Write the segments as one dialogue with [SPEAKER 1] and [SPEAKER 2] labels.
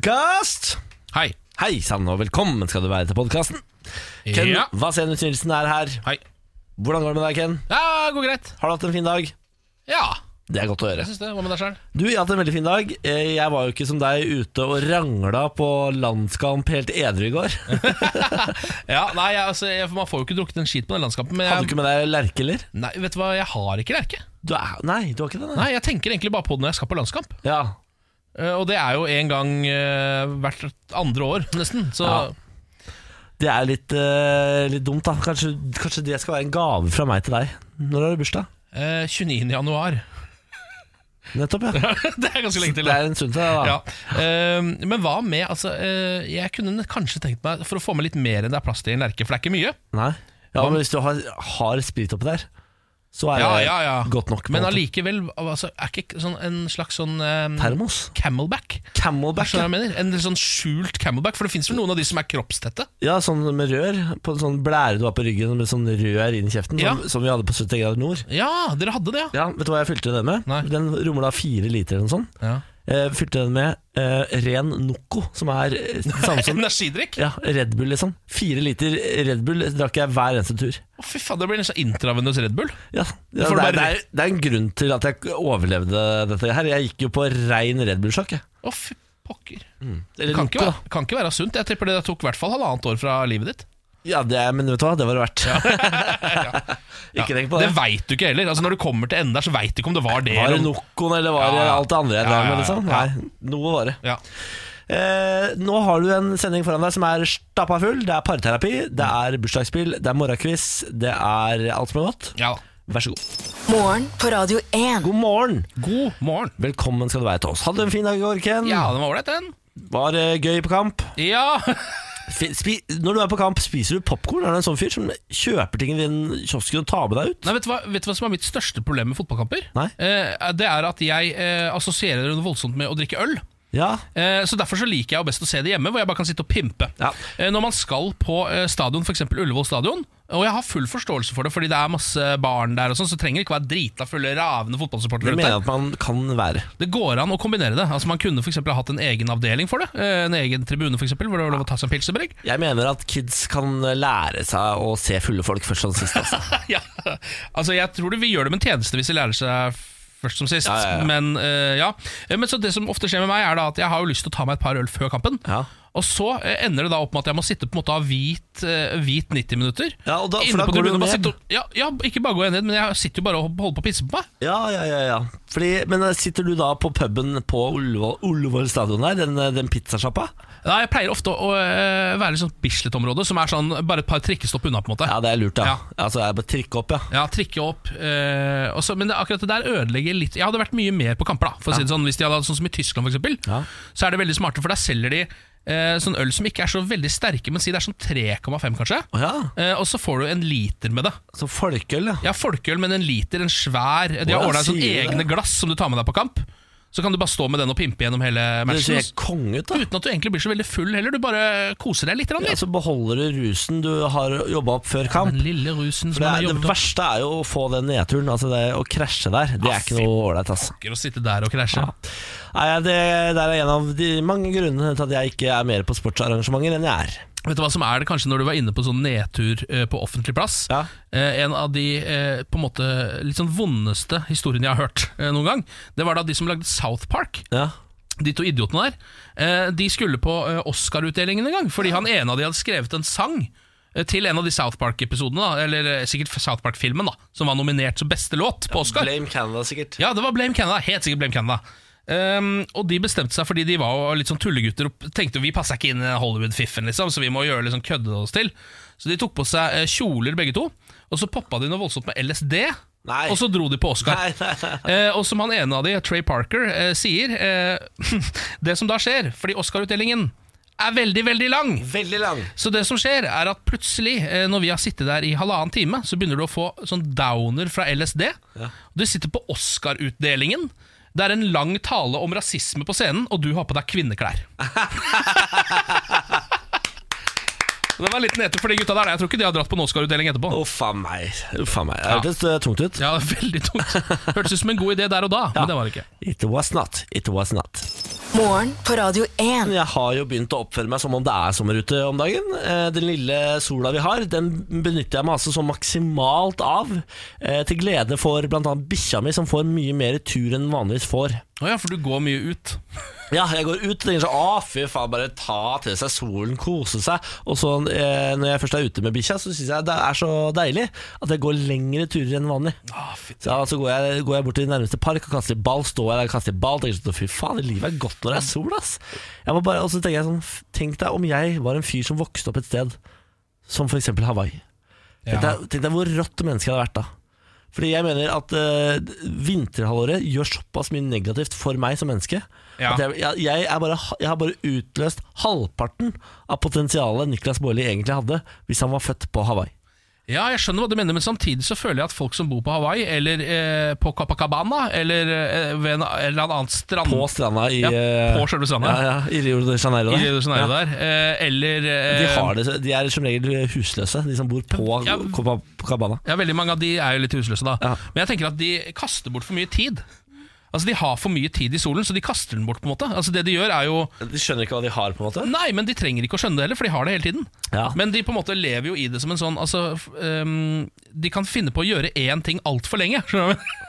[SPEAKER 1] Podkast!
[SPEAKER 2] Hei.
[SPEAKER 1] Hei sann, og velkommen skal du være til podkasten. Ken
[SPEAKER 2] Ja.
[SPEAKER 1] Vasenus Nilsen er her.
[SPEAKER 2] Hei.
[SPEAKER 1] Hvordan går det med deg, Ken?
[SPEAKER 2] Ja, det går greit.
[SPEAKER 1] Har du hatt en fin dag?
[SPEAKER 2] Ja.
[SPEAKER 1] Det er godt å høre.
[SPEAKER 2] Jeg syns det. Hva med deg sjøl?
[SPEAKER 1] Du, jeg har hatt en veldig fin dag. Eh, Jeg var jo ikke som deg ute og rangla på landskamp helt edru i går.
[SPEAKER 2] Ja, nei, jeg, altså, jeg, man får jo ikke drukket en skit på den landskampen. Men
[SPEAKER 1] Hadde du
[SPEAKER 2] jeg,
[SPEAKER 1] ikke med deg lerke, eller?
[SPEAKER 2] nei, vet du hva, jeg har ikke lerke.
[SPEAKER 1] Du er, nei, du har ikke det?
[SPEAKER 2] Nei, jeg tenker egentlig bare på det når jeg skal på landskamp.
[SPEAKER 1] Ja.
[SPEAKER 2] Eh, og det er jo en gang eh, hvert andre år, nesten. Så
[SPEAKER 1] Ja. Det er litt, eh, litt dumt, da. Kanskje, kanskje det skal være en gave fra meg til deg. Når har du bursdag?
[SPEAKER 2] eh, 29. januar.
[SPEAKER 1] Nettopp, ja.
[SPEAKER 2] det er ganske lenge til.
[SPEAKER 1] Det
[SPEAKER 2] da.
[SPEAKER 1] er en stund til, da.
[SPEAKER 2] Ja. Eh, men hva med altså, eh, Jeg kunne kanskje tenkt meg, for å få med litt mer enn det er plass til i en lerke, for det er ikke mye.
[SPEAKER 1] Nei. Ja, men hvis du har, har sprit oppi der, så er
[SPEAKER 2] Ja,
[SPEAKER 1] det
[SPEAKER 2] ja, ja.
[SPEAKER 1] godt nok. på
[SPEAKER 2] Men
[SPEAKER 1] en måte.
[SPEAKER 2] allikevel, altså, er ikke sånn, en slags sånn eh,
[SPEAKER 1] Termos?
[SPEAKER 2] camelback?
[SPEAKER 1] Camelback?
[SPEAKER 2] Skjønner du hva jeg mener? En litt sånn skjult camelback, for det fins vel noen av de som er kroppstette?
[SPEAKER 1] Ja, sånn med rør. På en sånn blære du har på ryggen med sånn rør inn i kjeften,
[SPEAKER 2] Ja.
[SPEAKER 1] som, som vi hadde på 70 grader nord.
[SPEAKER 2] Ja, dere hadde det, ja.
[SPEAKER 1] Ja, Vet du hva jeg fylte den med?
[SPEAKER 2] Nei.
[SPEAKER 1] Den rommer da fire liter eller noe sånt.
[SPEAKER 2] ja.
[SPEAKER 1] Eh, fylte den med eh, ren Noco, som er eh, det samme som
[SPEAKER 2] Energidrikk?
[SPEAKER 1] ja, Red Bull, liksom. Fire liter Red Bull drakk jeg hver eneste tur.
[SPEAKER 2] Å, fy faen, det blir nesten intravenøs Red Bull.
[SPEAKER 1] Ja, ja, det,
[SPEAKER 2] får
[SPEAKER 1] er,
[SPEAKER 2] du
[SPEAKER 1] det,
[SPEAKER 2] bare-
[SPEAKER 1] er, det er en grunn til at jeg overlevde dette her. Jeg gikk jo på rein Red Bull-sjokk. jeg.
[SPEAKER 2] Å, fy pokker.
[SPEAKER 1] Eller
[SPEAKER 2] Kan
[SPEAKER 1] Noco,
[SPEAKER 2] ikke,
[SPEAKER 1] da.
[SPEAKER 2] være, kan ikke være sunt. Jeg tipper det tok i hvert fall halvannet år fra livet ditt.
[SPEAKER 1] Ja, det, er- men vet du hva, det var det verdt. Ikke tenk på det.
[SPEAKER 2] Det veit du ikke heller. Altså Når du kommer til enden der, så veit du ikke om det var det.
[SPEAKER 1] Var det
[SPEAKER 2] eller om-
[SPEAKER 1] Nocoen, eller var det
[SPEAKER 2] Ja, ja.
[SPEAKER 1] alt det andre jeg drev
[SPEAKER 2] Ja, ja,
[SPEAKER 1] med?
[SPEAKER 2] ja.
[SPEAKER 1] Liksom?
[SPEAKER 2] Ja.
[SPEAKER 1] Nei, noe var det.
[SPEAKER 2] Ja.
[SPEAKER 1] Eh, nå har du en sending foran deg som er stappa full. Det er parterapi, det er bursdagsspill, det er morgenquiz, det er alt som er godt.
[SPEAKER 2] ja.
[SPEAKER 1] Vær så god.
[SPEAKER 3] Morgen på Radio 1.
[SPEAKER 1] God morgen!
[SPEAKER 2] God morgen.
[SPEAKER 1] Velkommen skal du være til oss. Hadde du en fin dag i går, Ken?
[SPEAKER 2] Ja, den var ålreit, den.
[SPEAKER 1] Var det gøy på kamp?
[SPEAKER 2] Ja.
[SPEAKER 1] Fi- Spi Når du er på kamp, spiser du popkorn? Er du en sånn fyr som kjøper ting i den kiosken og tar med deg ut?
[SPEAKER 2] Nei, vet du, hva, vet du hva som er mitt største problem med fotballkamper?
[SPEAKER 1] Nei.
[SPEAKER 2] Eh, det er at jeg eh, assosierer det voldsomt med å drikke øl.
[SPEAKER 1] Ja,
[SPEAKER 2] Eh, Så Derfor så liker jeg jo best å se det hjemme, hvor jeg bare kan sitte og pimpe.
[SPEAKER 1] Ja.
[SPEAKER 2] Eh, Når man skal på eh, stadion, f.eks. Ullevål stadion, og jeg har full forståelse for det, fordi det er masse barn der, og sånn, så trenger det ikke være drita fulle, ravende
[SPEAKER 1] det
[SPEAKER 2] fotballsupportere.
[SPEAKER 1] mener
[SPEAKER 2] ute.
[SPEAKER 1] jeg at man kan være.
[SPEAKER 2] Det går an å kombinere det. Altså Man kunne for eksempel ha hatt en egen avdeling for det. eh, En egen tribune, for eksempel, hvor det var lov å ta seg en pilsebrygg.
[SPEAKER 1] Jeg mener at kids kan lære seg å se fulle folk først som sist. Altså.
[SPEAKER 2] ja. Altså, jeg tror det, vi gjør dem en tjeneste hvis de lærer seg først som sist.
[SPEAKER 1] Ja, ja, ja.
[SPEAKER 2] Men, eh, ja. Eh, Men så det som ofte skjer med meg, er da at jeg har jo lyst til å ta meg et par øl før kampen.
[SPEAKER 1] Ja.
[SPEAKER 2] Og så eh, ender det da opp med at jeg må sitte på en måte av hvit, eh, hvit 90 minutter.
[SPEAKER 1] Ja, og da- for
[SPEAKER 2] Inne
[SPEAKER 1] da
[SPEAKER 2] på
[SPEAKER 1] går du
[SPEAKER 2] tribunen, bare
[SPEAKER 1] ned.
[SPEAKER 2] sitte og- Ja, ja, ikke bare gå ned, men jeg sitter jo bare og holder på å pisse på meg.
[SPEAKER 1] Ja, ja, ja, ja. Fordi, Men eh, sitter du da på puben på Ullevål, Ullevål stadion der, den, eh, den pizzasjappa?
[SPEAKER 2] Nei, jeg pleier ofte å eh, være i sånn Bislett-område, som er sånn bare et par trikkestopp unna. på en måte
[SPEAKER 1] Ja, det er lurt, ja.
[SPEAKER 2] Ja.
[SPEAKER 1] Altså, jeg bare trikke opp, ja.
[SPEAKER 2] Ja, trikke opp. Eh, og så- men det, akkurat det der ødelegger litt Jeg hadde vært mye mer på kamper. da For å si det sånn Hvis de hadde hatt sånn som i Tyskland, for eksempel,
[SPEAKER 1] Ja.
[SPEAKER 2] så er det veldig smarte, for der selger de eh, sånn øl som ikke er så veldig sterke, men si det er sånn 3,5, kanskje.
[SPEAKER 1] Å ja,
[SPEAKER 2] Eh, og så får du en liter med det.
[SPEAKER 1] så folkeøl, ja.
[SPEAKER 2] Ja, folkeøl, men en liter, en svær De har
[SPEAKER 1] Hvordan
[SPEAKER 2] ordna sånne
[SPEAKER 1] sier du
[SPEAKER 2] egne
[SPEAKER 1] det?
[SPEAKER 2] glass som du tar med deg på kamp. Så kan du bare stå med den og pimpe gjennom hele
[SPEAKER 1] Det ser
[SPEAKER 2] matchen.
[SPEAKER 1] helt konge ut, da.
[SPEAKER 2] Uten at du egentlig blir så veldig full heller, du bare koser deg litt. grann,
[SPEAKER 1] Ja,
[SPEAKER 2] litt.
[SPEAKER 1] så beholder du rusen du har jobba opp før kamp.
[SPEAKER 2] Den lille rusen som
[SPEAKER 1] Det,
[SPEAKER 2] man har
[SPEAKER 1] er,
[SPEAKER 2] jobbet
[SPEAKER 1] det verste er jo å få den nedturen. Altså det, å krasje der, det
[SPEAKER 2] Ja,
[SPEAKER 1] er ikke noe ålreit, altså.
[SPEAKER 2] med, å sitte der og krasje.
[SPEAKER 1] Nei, det der er en av de mange grunnene til at jeg ikke er mer på sportsarrangementer enn jeg er.
[SPEAKER 2] Vet du hva som er det kanskje når du var inne på sånn nedtur eh, på offentlig plass?
[SPEAKER 1] Ja.
[SPEAKER 2] Eh, en av de eh, på en måte litt sånn vondeste historiene jeg har hørt eh, noen gang, det var da de som lagde South Park.
[SPEAKER 1] Ja.
[SPEAKER 2] De to idiotene der. Eh, de skulle på eh, Oscar-utdelingen en gang, fordi han ene av de hadde skrevet en sang eh, til en av de South Park-episodene, da, eller eh, sikkert South Park-filmen, da, som var nominert som beste låt på Oscar.
[SPEAKER 1] Blame Canada, sikkert.
[SPEAKER 2] Ja, det var Blame Canada. Helt sikkert Blame Canada. Ehm, og de bestemte seg fordi de var jo litt sånn tullegutter og tenkte jo, vi passer ikke inn i Hollywood-fiffen, liksom, så vi må gjøre litt sånn kødde oss til. Så de tok på seg eh, kjoler begge to, og så poppa de noe voldsomt med LSD.
[SPEAKER 1] Nei.
[SPEAKER 2] Og så dro de på Oscar.
[SPEAKER 1] Nei, nei, nei.
[SPEAKER 2] Eh, og som han ene av de, Trey Parker, eh, sier eh, Det som da skjer, fordi Oscar-utdelingen er veldig, veldig lang,
[SPEAKER 1] Veldig lang.
[SPEAKER 2] så det som skjer er at plutselig, eh, når vi har sittet der i halvannen time, så begynner du å få sånn downer fra LSD. Du sitter på Oscar-utdelingen. Det er en lang tale om rasisme på scenen, og du har på deg kvinneklær. Og Det var en liten nedtur for de gutta der. Jeg tror ikke de har dratt på en Oscar-utdeling etterpå.
[SPEAKER 1] Uff a meg. Uff a meg. Det hørtes eh, tungt ut.
[SPEAKER 2] Ja, veldig tungt. Hørtes ut som en god idé der og da, men det var det ikke.
[SPEAKER 1] It was not. It was not.
[SPEAKER 3] Morgen på Radio 1.
[SPEAKER 1] Jeg har jo begynt å oppføre meg som om det er sommer ute om dagen. Eh, Den lille sola vi har, den benytter jeg meg altså så maksimalt av. eh, Til glede for bl.a. bikkja mi, som får mye mer tur enn den vanligvis får.
[SPEAKER 2] Å ja, for du går mye ut.
[SPEAKER 1] Ja, jeg går ut og tenker sånn Å, fy faen, bare ta til seg solen, kose seg. Og så eh, når jeg først er ute med bikkja, så syns jeg det er så deilig at jeg går lengre turer enn vanlig.
[SPEAKER 2] Ah, fy-
[SPEAKER 1] Så, ja, så går, jeg, går jeg bort til den nærmeste park og kaster litt ball. Står jeg der og kaster litt ball Tenker sånn, fy faen, det livet er godt når det er sol, ass. Jeg må bare, og så tenker jeg sånn, f- tenk deg om jeg var en fyr som vokste opp et sted som f.eks. Hawaii. Tenk
[SPEAKER 2] Ja.
[SPEAKER 1] deg, tenk deg hvor rått mennesket hadde vært da. Fordi jeg mener at eh, vinterhalvåret gjør såpass mye negativt for meg som menneske.
[SPEAKER 2] Ja.
[SPEAKER 1] At jeg, jeg, jeg, er bare, jeg har bare utløst halvparten av potensialet Niklas Baarli egentlig hadde hvis han var født på Hawaii.
[SPEAKER 2] Ja, jeg skjønner hva du mener, men samtidig så føler jeg at folk som bor på Hawaii, eller eh, på Copacabana, eller eh, ved en eller annen strand
[SPEAKER 1] På stranda i
[SPEAKER 2] Mm. Ja,
[SPEAKER 1] eh,
[SPEAKER 2] på selve stranda.
[SPEAKER 1] Ja, ja, I Rio de Janeiro.
[SPEAKER 2] i
[SPEAKER 1] der.
[SPEAKER 2] Rio de Janeiro der, eh, eller eh,
[SPEAKER 1] De, har det, de er som regel husløse, de som bor på
[SPEAKER 2] Ja.
[SPEAKER 1] Copacabana.
[SPEAKER 2] Ja, veldig mange av de er jo litt husløse da
[SPEAKER 1] Ja.
[SPEAKER 2] Men jeg tenker at de kaster bort for mye tid Altså de har for mye tid i solen Så de kaster den bort på en måte Altså det de gjør er jo
[SPEAKER 1] De skjønner ikke hva de har, på en måte?
[SPEAKER 2] Nei, men de trenger ikke å skjønne det heller For de har det hele tiden
[SPEAKER 1] Ja.
[SPEAKER 2] Men de på en måte lever jo i det som en sånn altså, f- ehm, De kan finne på å gjøre én ting alt for lenge Skjønner du? hva jeg mener?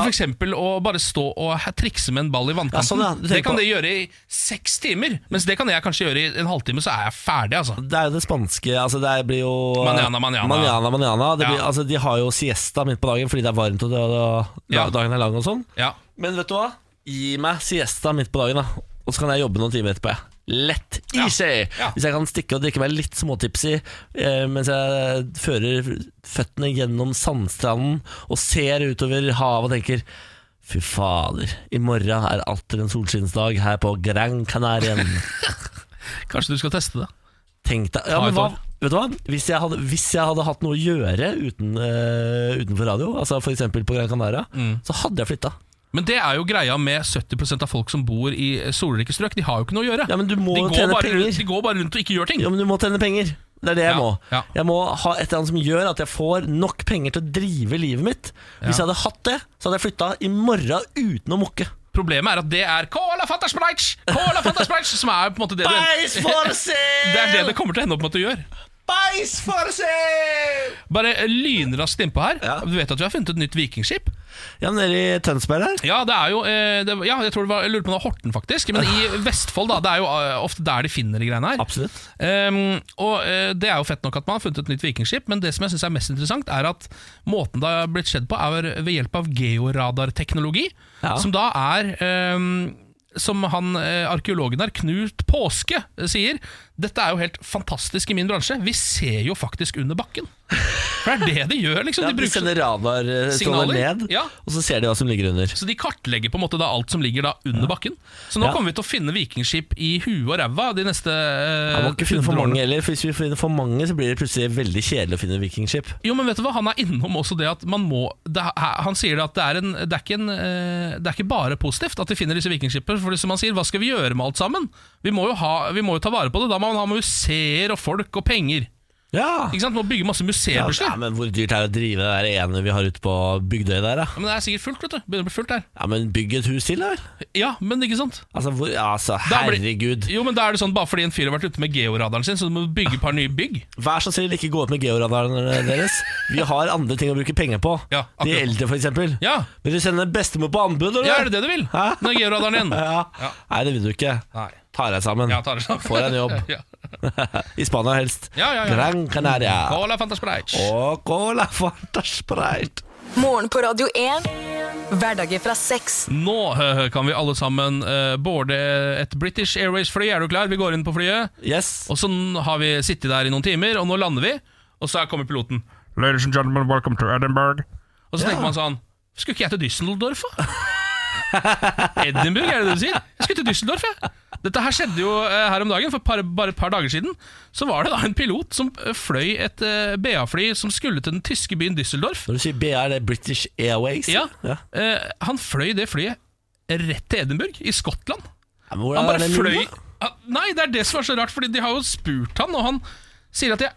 [SPEAKER 1] Ja.
[SPEAKER 2] for eksempel å bare stå og he- trikse med en ball i vannkanten
[SPEAKER 1] Ja, sånn, ja. Du tenker
[SPEAKER 2] Det kan
[SPEAKER 1] på-
[SPEAKER 2] de gjøre i seks timer Mens det kan jeg kanskje gjøre i en halvtime Så er jeg ferdig altså
[SPEAKER 1] Det er jo det spanske altså Det blir jo
[SPEAKER 2] Manana, manana.
[SPEAKER 1] manana, manana. Det
[SPEAKER 2] Ja.
[SPEAKER 1] blir, altså, de har jo siesta midt på dagen fordi det er varmt og, det, og da-
[SPEAKER 2] Ja.
[SPEAKER 1] dagen er lang og sånn.
[SPEAKER 2] Ja
[SPEAKER 1] Men vet du hva? Gi meg siesta midt på dagen, da. Og så kan jeg jobbe noen timer etterpå. jeg. Lett.
[SPEAKER 2] Ja.
[SPEAKER 1] Easy!
[SPEAKER 2] Ja.
[SPEAKER 1] Hvis jeg kan stikke og drikke meg litt småtipsy eh, mens jeg fører føttene gjennom sandstranden og ser utover havet og tenker Fy fader, i morgen er atter en solskinnsdag her på Gran Canarien.
[SPEAKER 2] Kanskje du skal teste det
[SPEAKER 1] Tenk deg ja,
[SPEAKER 2] Ta
[SPEAKER 1] men
[SPEAKER 2] et
[SPEAKER 1] hva,
[SPEAKER 2] år.
[SPEAKER 1] Vet du hva? Hvis jeg hadde, hvis jeg hadde hatt noe å gjøre uten, eh, utenfor radio, altså f.eks. på Gran Canaria,
[SPEAKER 2] Mm.
[SPEAKER 1] så hadde jeg flytta.
[SPEAKER 2] Men det er jo greia med 70 av folk som bor i solrike strøk. De har jo ikke noe å gjøre.
[SPEAKER 1] Ja, men du må
[SPEAKER 2] de,
[SPEAKER 1] jo
[SPEAKER 2] går
[SPEAKER 1] tjene
[SPEAKER 2] bare,
[SPEAKER 1] penger.
[SPEAKER 2] de går bare rundt og ikke gjør ting.
[SPEAKER 1] Ja, men du må tjene penger. Det er det jeg
[SPEAKER 2] Ja,
[SPEAKER 1] må.
[SPEAKER 2] ja.
[SPEAKER 1] Jeg må ha et eller annet som gjør at jeg får nok penger til å drive livet mitt. Hvis jeg hadde hatt det, så hadde jeg flytta i morgen uten å mukke.
[SPEAKER 2] Problemet er at det er Cola Fanta Sprite! Cola Fanta Sprite! Som er på en måte det det,
[SPEAKER 1] Beis for sale!
[SPEAKER 2] det er det det kommer til å ende opp med at du gjør.
[SPEAKER 1] Beis for sale!
[SPEAKER 2] Bare lynraskt innpå her.
[SPEAKER 1] Ja.
[SPEAKER 2] Du vet at vi har funnet et nytt vikingskip?
[SPEAKER 1] Ja, nede i Tønsberg der.
[SPEAKER 2] Ja, det er jo eh, det, ja, jeg, tror det var, jeg lurte på om det var Horten, faktisk. Men
[SPEAKER 1] Ah.
[SPEAKER 2] i Vestfold, da. Det er jo eh, ofte der de finner de greiene her.
[SPEAKER 1] Absolutt.
[SPEAKER 2] Ehm, og eh, Det er jo fett nok at man har funnet et nytt vikingskip, men det som jeg synes er mest interessant, er at måten det har blitt skjedd på, er ved hjelp av georadarteknologi.
[SPEAKER 1] Ja.
[SPEAKER 2] Som da er ehm, Som han eh, arkeologen der, Knut Påske, eh, sier Dette er jo helt fantastisk i min bransje. Vi ser jo faktisk under bakken. For det er det de gjør, liksom.
[SPEAKER 1] Ja,
[SPEAKER 2] de
[SPEAKER 1] de
[SPEAKER 2] bruker,
[SPEAKER 1] sender radarstråler
[SPEAKER 2] Signaler,
[SPEAKER 1] ned,
[SPEAKER 2] ja.
[SPEAKER 1] og så ser de hva som ligger under.
[SPEAKER 2] så de kartlegger på en måte da alt som ligger da under bakken. Så nå
[SPEAKER 1] Ja.
[SPEAKER 2] kommer vi til å finne vikingskip i huet og ræva de neste eh,
[SPEAKER 1] Jeg må ikke finne
[SPEAKER 2] 100
[SPEAKER 1] for
[SPEAKER 2] årene.
[SPEAKER 1] mange heller, for hvis vi finner for mange, så blir det plutselig veldig kjedelig å finne vikingskip.
[SPEAKER 2] Jo, men vet du hva, Han er innom også det at man må det, Han sier det at det er, en, det, er ikke en, eh, det er ikke bare positivt at vi finner disse vikingskipene. For som han sier, hva skal vi gjøre med alt sammen? Vi må jo, ha, vi må jo ta vare på det. Da må man ha museer og folk og penger.
[SPEAKER 1] Ja.
[SPEAKER 2] Ikke sant? Man må bygge masse museer.
[SPEAKER 1] Ja,
[SPEAKER 2] plutselig.
[SPEAKER 1] men Hvor dyrt er det å drive det der ene vi har ute på Bygdøy der, da?
[SPEAKER 2] Ja, men det er sikkert fullt, vet du. Begynner å bli fullt der.
[SPEAKER 1] Ja, men bygg et hus til, da vel?
[SPEAKER 2] Ja, men ikke sant?
[SPEAKER 1] Altså, hvor, altså
[SPEAKER 2] Da blir-
[SPEAKER 1] herregud.
[SPEAKER 2] Jo, men da er det sånn, Bare fordi en fyr har vært ute med georadaren sin, så du må bygge et par nye bygg.
[SPEAKER 1] Vær så snill, ikke gå ut med georadarene deres. Vi har andre ting å bruke penger på.
[SPEAKER 2] Ja, akkurat.
[SPEAKER 1] De eldre, for eksempel.
[SPEAKER 2] Ja,
[SPEAKER 1] Vil du sende bestemor på anbud, eller?
[SPEAKER 2] ja er det det du vil?
[SPEAKER 1] Hæ?
[SPEAKER 2] Med georadaren din?
[SPEAKER 1] Ja.
[SPEAKER 2] Ja.
[SPEAKER 1] Nei, det vil du ikke.
[SPEAKER 2] Nei.
[SPEAKER 1] Ta deg sammen.
[SPEAKER 2] Ja, tar det sammen.
[SPEAKER 1] Få deg en jobb.
[SPEAKER 2] Ja.
[SPEAKER 1] I Spania helst.
[SPEAKER 2] Ja, ja, ja.
[SPEAKER 1] Gran Canaria.
[SPEAKER 2] Cola Fanta Sprite.
[SPEAKER 1] Og cola Fanta Sprite.
[SPEAKER 3] Morgen på Radio 1. Hverdager fra seks.
[SPEAKER 2] Nå eh, kan vi alle sammen eh, boarde et British Airways-fly. Er du klar? Vi går inn på flyet.
[SPEAKER 1] Yes.
[SPEAKER 2] Og så n- har vi sittet der i noen timer, og nå lander vi. Og så kommer piloten. Ladies and gentlemen, welcome to Edinburgh. Og så tenker man sånn Skulle ikke jeg til Düsseldorf, da? Edinburgh, er det det du sier? Jeg skulle til Düsseldorf, jeg. Dette her skjedde jo eh, her om dagen, for par, bare et par dager siden. Så var det da en pilot som eh, fløy et eh, BA-fly som skulle til den tyske byen Düsseldorf.
[SPEAKER 1] Når du sier BA, er det British Airways?
[SPEAKER 2] Ja.
[SPEAKER 1] ja.
[SPEAKER 2] Eh, han fløy det flyet rett til Edinburgh i Skottland.
[SPEAKER 1] Ja, men hvordan
[SPEAKER 2] Han
[SPEAKER 1] er
[SPEAKER 2] bare
[SPEAKER 1] det mulig,
[SPEAKER 2] fløy
[SPEAKER 1] da?
[SPEAKER 2] Ah, Nei, det er det som er så rart, Fordi de har jo spurt han, og han sier at jeg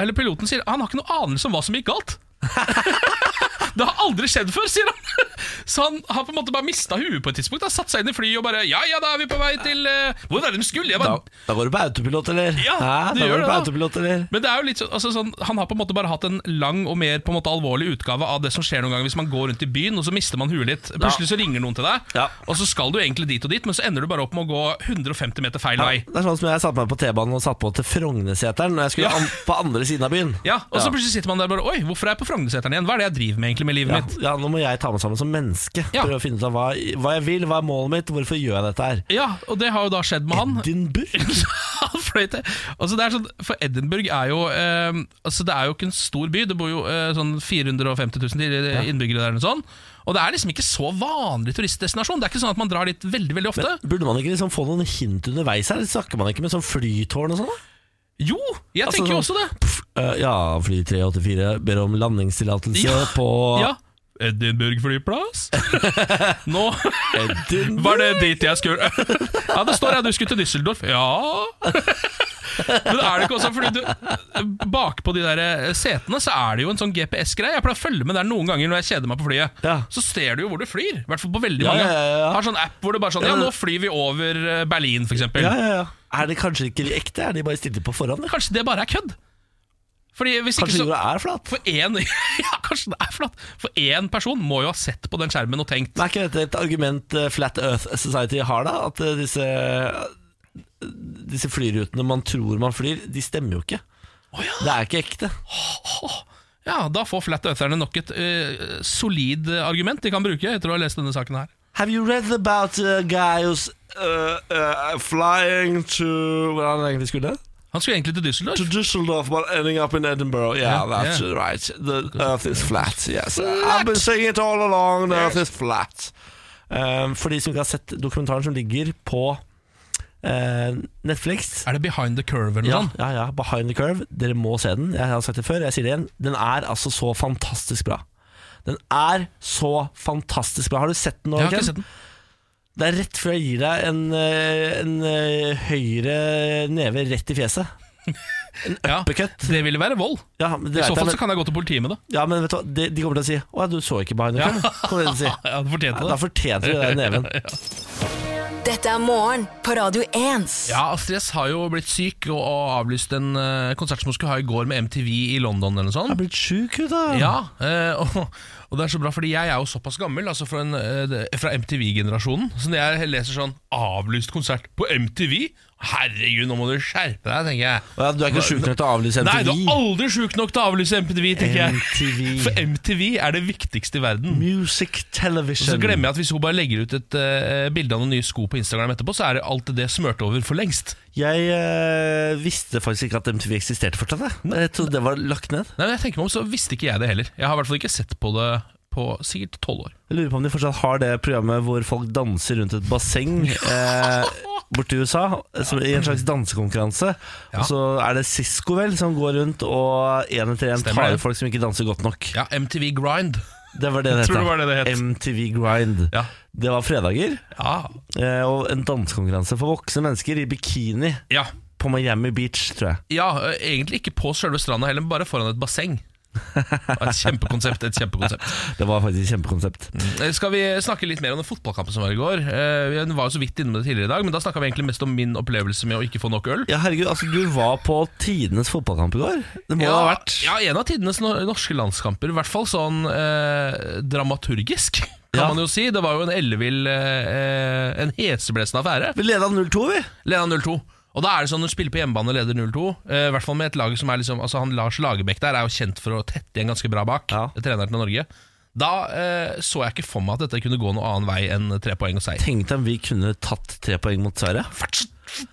[SPEAKER 2] Eller piloten sier han har ikke noe anelse om hva som gikk galt. det har aldri skjedd før, sier han. Så han har på en måte bare mista huet på et tidspunkt. Da. Satt seg inn i flyet og bare Ja, ja, da er vi på vei til eh, Hvor var det de skulle? Jeg
[SPEAKER 1] Da,
[SPEAKER 2] bare,
[SPEAKER 1] da går du på autopilot, eller?
[SPEAKER 2] Ja,
[SPEAKER 1] Hæ?
[SPEAKER 2] det
[SPEAKER 1] da
[SPEAKER 2] gjør
[SPEAKER 1] går du
[SPEAKER 2] det
[SPEAKER 1] på
[SPEAKER 2] da.
[SPEAKER 1] autopilot, eller?
[SPEAKER 2] men det er jo litt sånn, altså, sånn han har på en måte bare hatt en lang og mer på en måte alvorlig utgave av det som skjer noen ganger hvis man går rundt i byen og så mister man huet litt. Plutselig så ringer noen til deg,
[SPEAKER 1] Ja.
[SPEAKER 2] og så skal du egentlig dit og dit, men så ender du bare opp med å gå 150 meter feil
[SPEAKER 1] Ja,
[SPEAKER 2] vei.
[SPEAKER 1] det er sånn som jeg satte meg på T-banen og satt på til Frogneseteren når jeg skulle
[SPEAKER 2] Ja.
[SPEAKER 1] an på andre siden av byen.
[SPEAKER 2] Ja, Og så plutselig sitter man der bare Oi, hvorfor er jeg på Frognerseteren igjen? Hva er det jeg driver med egentlig med livet
[SPEAKER 1] Ja,
[SPEAKER 2] mitt?
[SPEAKER 1] ja, nå må jeg ta meg sammen som menneske.
[SPEAKER 2] Ja.
[SPEAKER 1] Prøve å finne ut av hva, hva jeg vil, hva er målet mitt, hvorfor gjør jeg dette her?
[SPEAKER 2] Ja, og det har jo da skjedd med han.
[SPEAKER 1] Edinburgh?
[SPEAKER 2] han fløy til altså det er sånn, For Edinburgh er jo eh, altså Det er jo ikke en stor by. Det bor jo eh, sånn 450 000 til- innbyggere der. Og sånn Og det er liksom ikke så vanlig turistdestinasjon. Det er ikke sånn at man drar dit veldig veldig ofte.
[SPEAKER 1] Burde man ikke liksom få noen hint underveis her? Snakker man ikke med sånn flytårn og sånn? da?
[SPEAKER 2] jo, jeg
[SPEAKER 1] Altså
[SPEAKER 2] tenker jo
[SPEAKER 1] sånn-
[SPEAKER 2] også det.
[SPEAKER 1] Pff, eh, ja, fly 384 ber om landingstillatelse
[SPEAKER 2] Ja,
[SPEAKER 1] på
[SPEAKER 2] Ja Edinburgh flyplass? Nå
[SPEAKER 1] Edinburgh.
[SPEAKER 2] var det dit jeg skulle Ja, det står jeg du skulle til Düsseldorf. Ja Men er det ikke også fordi du Bakpå de der eh, setene så er det jo en sånn GPS-greie. Jeg pleier å følge med der noen ganger når jeg kjeder meg på flyet.
[SPEAKER 1] Ja.
[SPEAKER 2] Så ser du jo hvor du flyr. I hvert fall på veldig
[SPEAKER 1] Ja,
[SPEAKER 2] mange.
[SPEAKER 1] ja, ja, ja.
[SPEAKER 2] Har sånn app hvor det bare sånn Ja, nå flyr vi over eh, Berlin, f.eks.
[SPEAKER 1] Ja,
[SPEAKER 2] eksempel
[SPEAKER 1] ja, ja. Er det kanskje ikke de ekte? Er de bare stilte på forhånd? eller?
[SPEAKER 2] Kanskje det bare er kødd? Fordi hvis ikke
[SPEAKER 1] Kanskje
[SPEAKER 2] så
[SPEAKER 1] jorda er flat?
[SPEAKER 2] For én Ja, kanskje det er flatt. For én person må jo ha sett på den skjermen og tenkt
[SPEAKER 1] Men er ikke dette et argument eh, Flat Earth Society har, da? At eh, disse, eh, disse flyrutene man tror man flyr, de stemmer jo ikke. Det er ikke ekte.
[SPEAKER 2] Ja, da får flat eartherne nok et eh, solid argument de kan bruke etter å ha lest denne saken her.
[SPEAKER 1] Have you read about eh, a guy who's uh, uh, flying to Hvor er det egentlig skulle?
[SPEAKER 2] Han skulle egentlig til
[SPEAKER 1] To
[SPEAKER 2] Düsseldorf.
[SPEAKER 1] Düsseldorf, but ending up in Edinburgh. Yeah,
[SPEAKER 2] Yeah,
[SPEAKER 1] that's
[SPEAKER 2] yeah.
[SPEAKER 1] right. The earth is flat. Yes,
[SPEAKER 2] Flat!
[SPEAKER 1] I've been saying it all along. The earth is flat. Um, for de som ikke har sett dokumentaren som ligger på eh, Netflix
[SPEAKER 2] Er det Behind the Curve eller noe
[SPEAKER 1] ja,
[SPEAKER 2] sånt?
[SPEAKER 1] ja, ja, Behind the Curve. Dere må se den. Jeg har sagt det før, jeg sier det igjen. Den er altså så fantastisk bra. Den er så fantastisk bra. Har du sett den nå?
[SPEAKER 2] Jeg har
[SPEAKER 1] Ken?
[SPEAKER 2] ikke sett den.
[SPEAKER 1] Det er rett før jeg gir deg en, eh, en eh, høyre neve rett i fjeset.
[SPEAKER 2] Ja,
[SPEAKER 1] Uppercut.
[SPEAKER 2] det ville være vold.
[SPEAKER 1] Ja, men det
[SPEAKER 2] I
[SPEAKER 1] vet
[SPEAKER 2] så fall
[SPEAKER 1] jeg,
[SPEAKER 2] så kan jeg gå til politiet med det.
[SPEAKER 1] men- ja, men vet du hva, de, de kommer til å si 'Å, du så ikke Behind the
[SPEAKER 2] Ja.
[SPEAKER 1] Curve'. Kommer de til å si.
[SPEAKER 2] Ja, du fortjente
[SPEAKER 1] Da
[SPEAKER 2] det.
[SPEAKER 1] fortjente du den neven.
[SPEAKER 3] Dette er morgen på Radio 1.
[SPEAKER 2] Ja, Astrid S har jo blitt syk og, og avlyst en eh, konsert som hun skulle ha i går med MTV i London eller noe sånt.
[SPEAKER 1] Jeg er blitt sjuk, vet du.
[SPEAKER 2] Ja, eh, og, og det er så bra, fordi jeg er jo såpass gammel, altså fra, en, eh, det- fra MTV-generasjonen. Så når jeg leser sånn 'avlyst konsert på MTV', herregud, nå må du skjerpe deg, tenker jeg.
[SPEAKER 1] Å ja, du er ikke sjuk nok til å avlyse
[SPEAKER 2] Nei, du
[SPEAKER 1] MTV.
[SPEAKER 2] er aldri sjuk nok til å avlyse MTV, tenker jeg.
[SPEAKER 1] MTV.
[SPEAKER 2] For MTV er det viktigste i verden.
[SPEAKER 1] Music
[SPEAKER 2] Og
[SPEAKER 1] Television.
[SPEAKER 2] så glemmer jeg at hvis hun bare legger ut et eh, bilde av noen nye sko på Instagram etterpå, så er det alt det smørt over for lengst.
[SPEAKER 1] Jeg eh, visste faktisk ikke at MTV eksisterte fortsatt. Jeg. jeg trodde det var lagt ned.
[SPEAKER 2] Nei, men jeg tenker meg om, så visste ikke jeg det heller. Jeg har i hvert fall ikke sett på det på sikkert tolv år.
[SPEAKER 1] Jeg lurer på om de fortsatt har det programmet hvor folk danser rundt et basseng eh, borti USA, som, i en slags dansekonkurranse. Og så er det Sisko vel som går rundt og en etter en
[SPEAKER 2] Stemmer
[SPEAKER 1] tar
[SPEAKER 2] det.
[SPEAKER 1] ut folk som ikke danser godt nok.
[SPEAKER 2] Ja, MTV Grind.
[SPEAKER 1] Det var det det
[SPEAKER 2] Tror det
[SPEAKER 1] het.
[SPEAKER 2] var det det
[SPEAKER 1] da.
[SPEAKER 2] het.
[SPEAKER 1] MTV Grind.
[SPEAKER 2] Ja.
[SPEAKER 1] Det var fredager,
[SPEAKER 2] Ja.
[SPEAKER 1] eh, og en dansekonkurranse for voksne mennesker i bikini
[SPEAKER 2] ja.
[SPEAKER 1] på Miami Beach, tror jeg.
[SPEAKER 2] Ja, ø, egentlig ikke på selve stranda heller, men bare foran et basseng. Og Et kjempekonsept. et kjempekonsept
[SPEAKER 1] Det var faktisk et kjempekonsept.
[SPEAKER 2] Eh, Skal vi snakke litt mer om den fotballkampen som var i går? Eh, Vi var jo så vidt inne med det tidligere i dag, men da snakka vi egentlig mest om min opplevelse med å ikke få nok øl.
[SPEAKER 1] Ja, herregud, altså du var på tidenes fotballkamp i går. Det må ha vært
[SPEAKER 2] ja, en av tidenes no- norske landskamper. I hvert fall sånn eh, dramaturgisk, kan
[SPEAKER 1] Ja.
[SPEAKER 2] man jo si. Det var jo en ellevill, eh, eh, en heseblesende affære.
[SPEAKER 1] Vi leda 0-2, vi.
[SPEAKER 2] Leda 0-2. Og da er det sånn Når du spiller på hjemmebane og leder 0-2 eh, I hvert fall med et lag som er liksom Altså han Lars Lagerbäck der er jo kjent for å tette igjen ganske bra bak.
[SPEAKER 1] Ja.
[SPEAKER 2] Treneren til Norge. Da eh, så jeg ikke for meg at dette kunne gå noen annen vei enn tre poeng og seier.
[SPEAKER 1] Tenk deg om vi kunne tatt tre poeng mot Sverige. Fy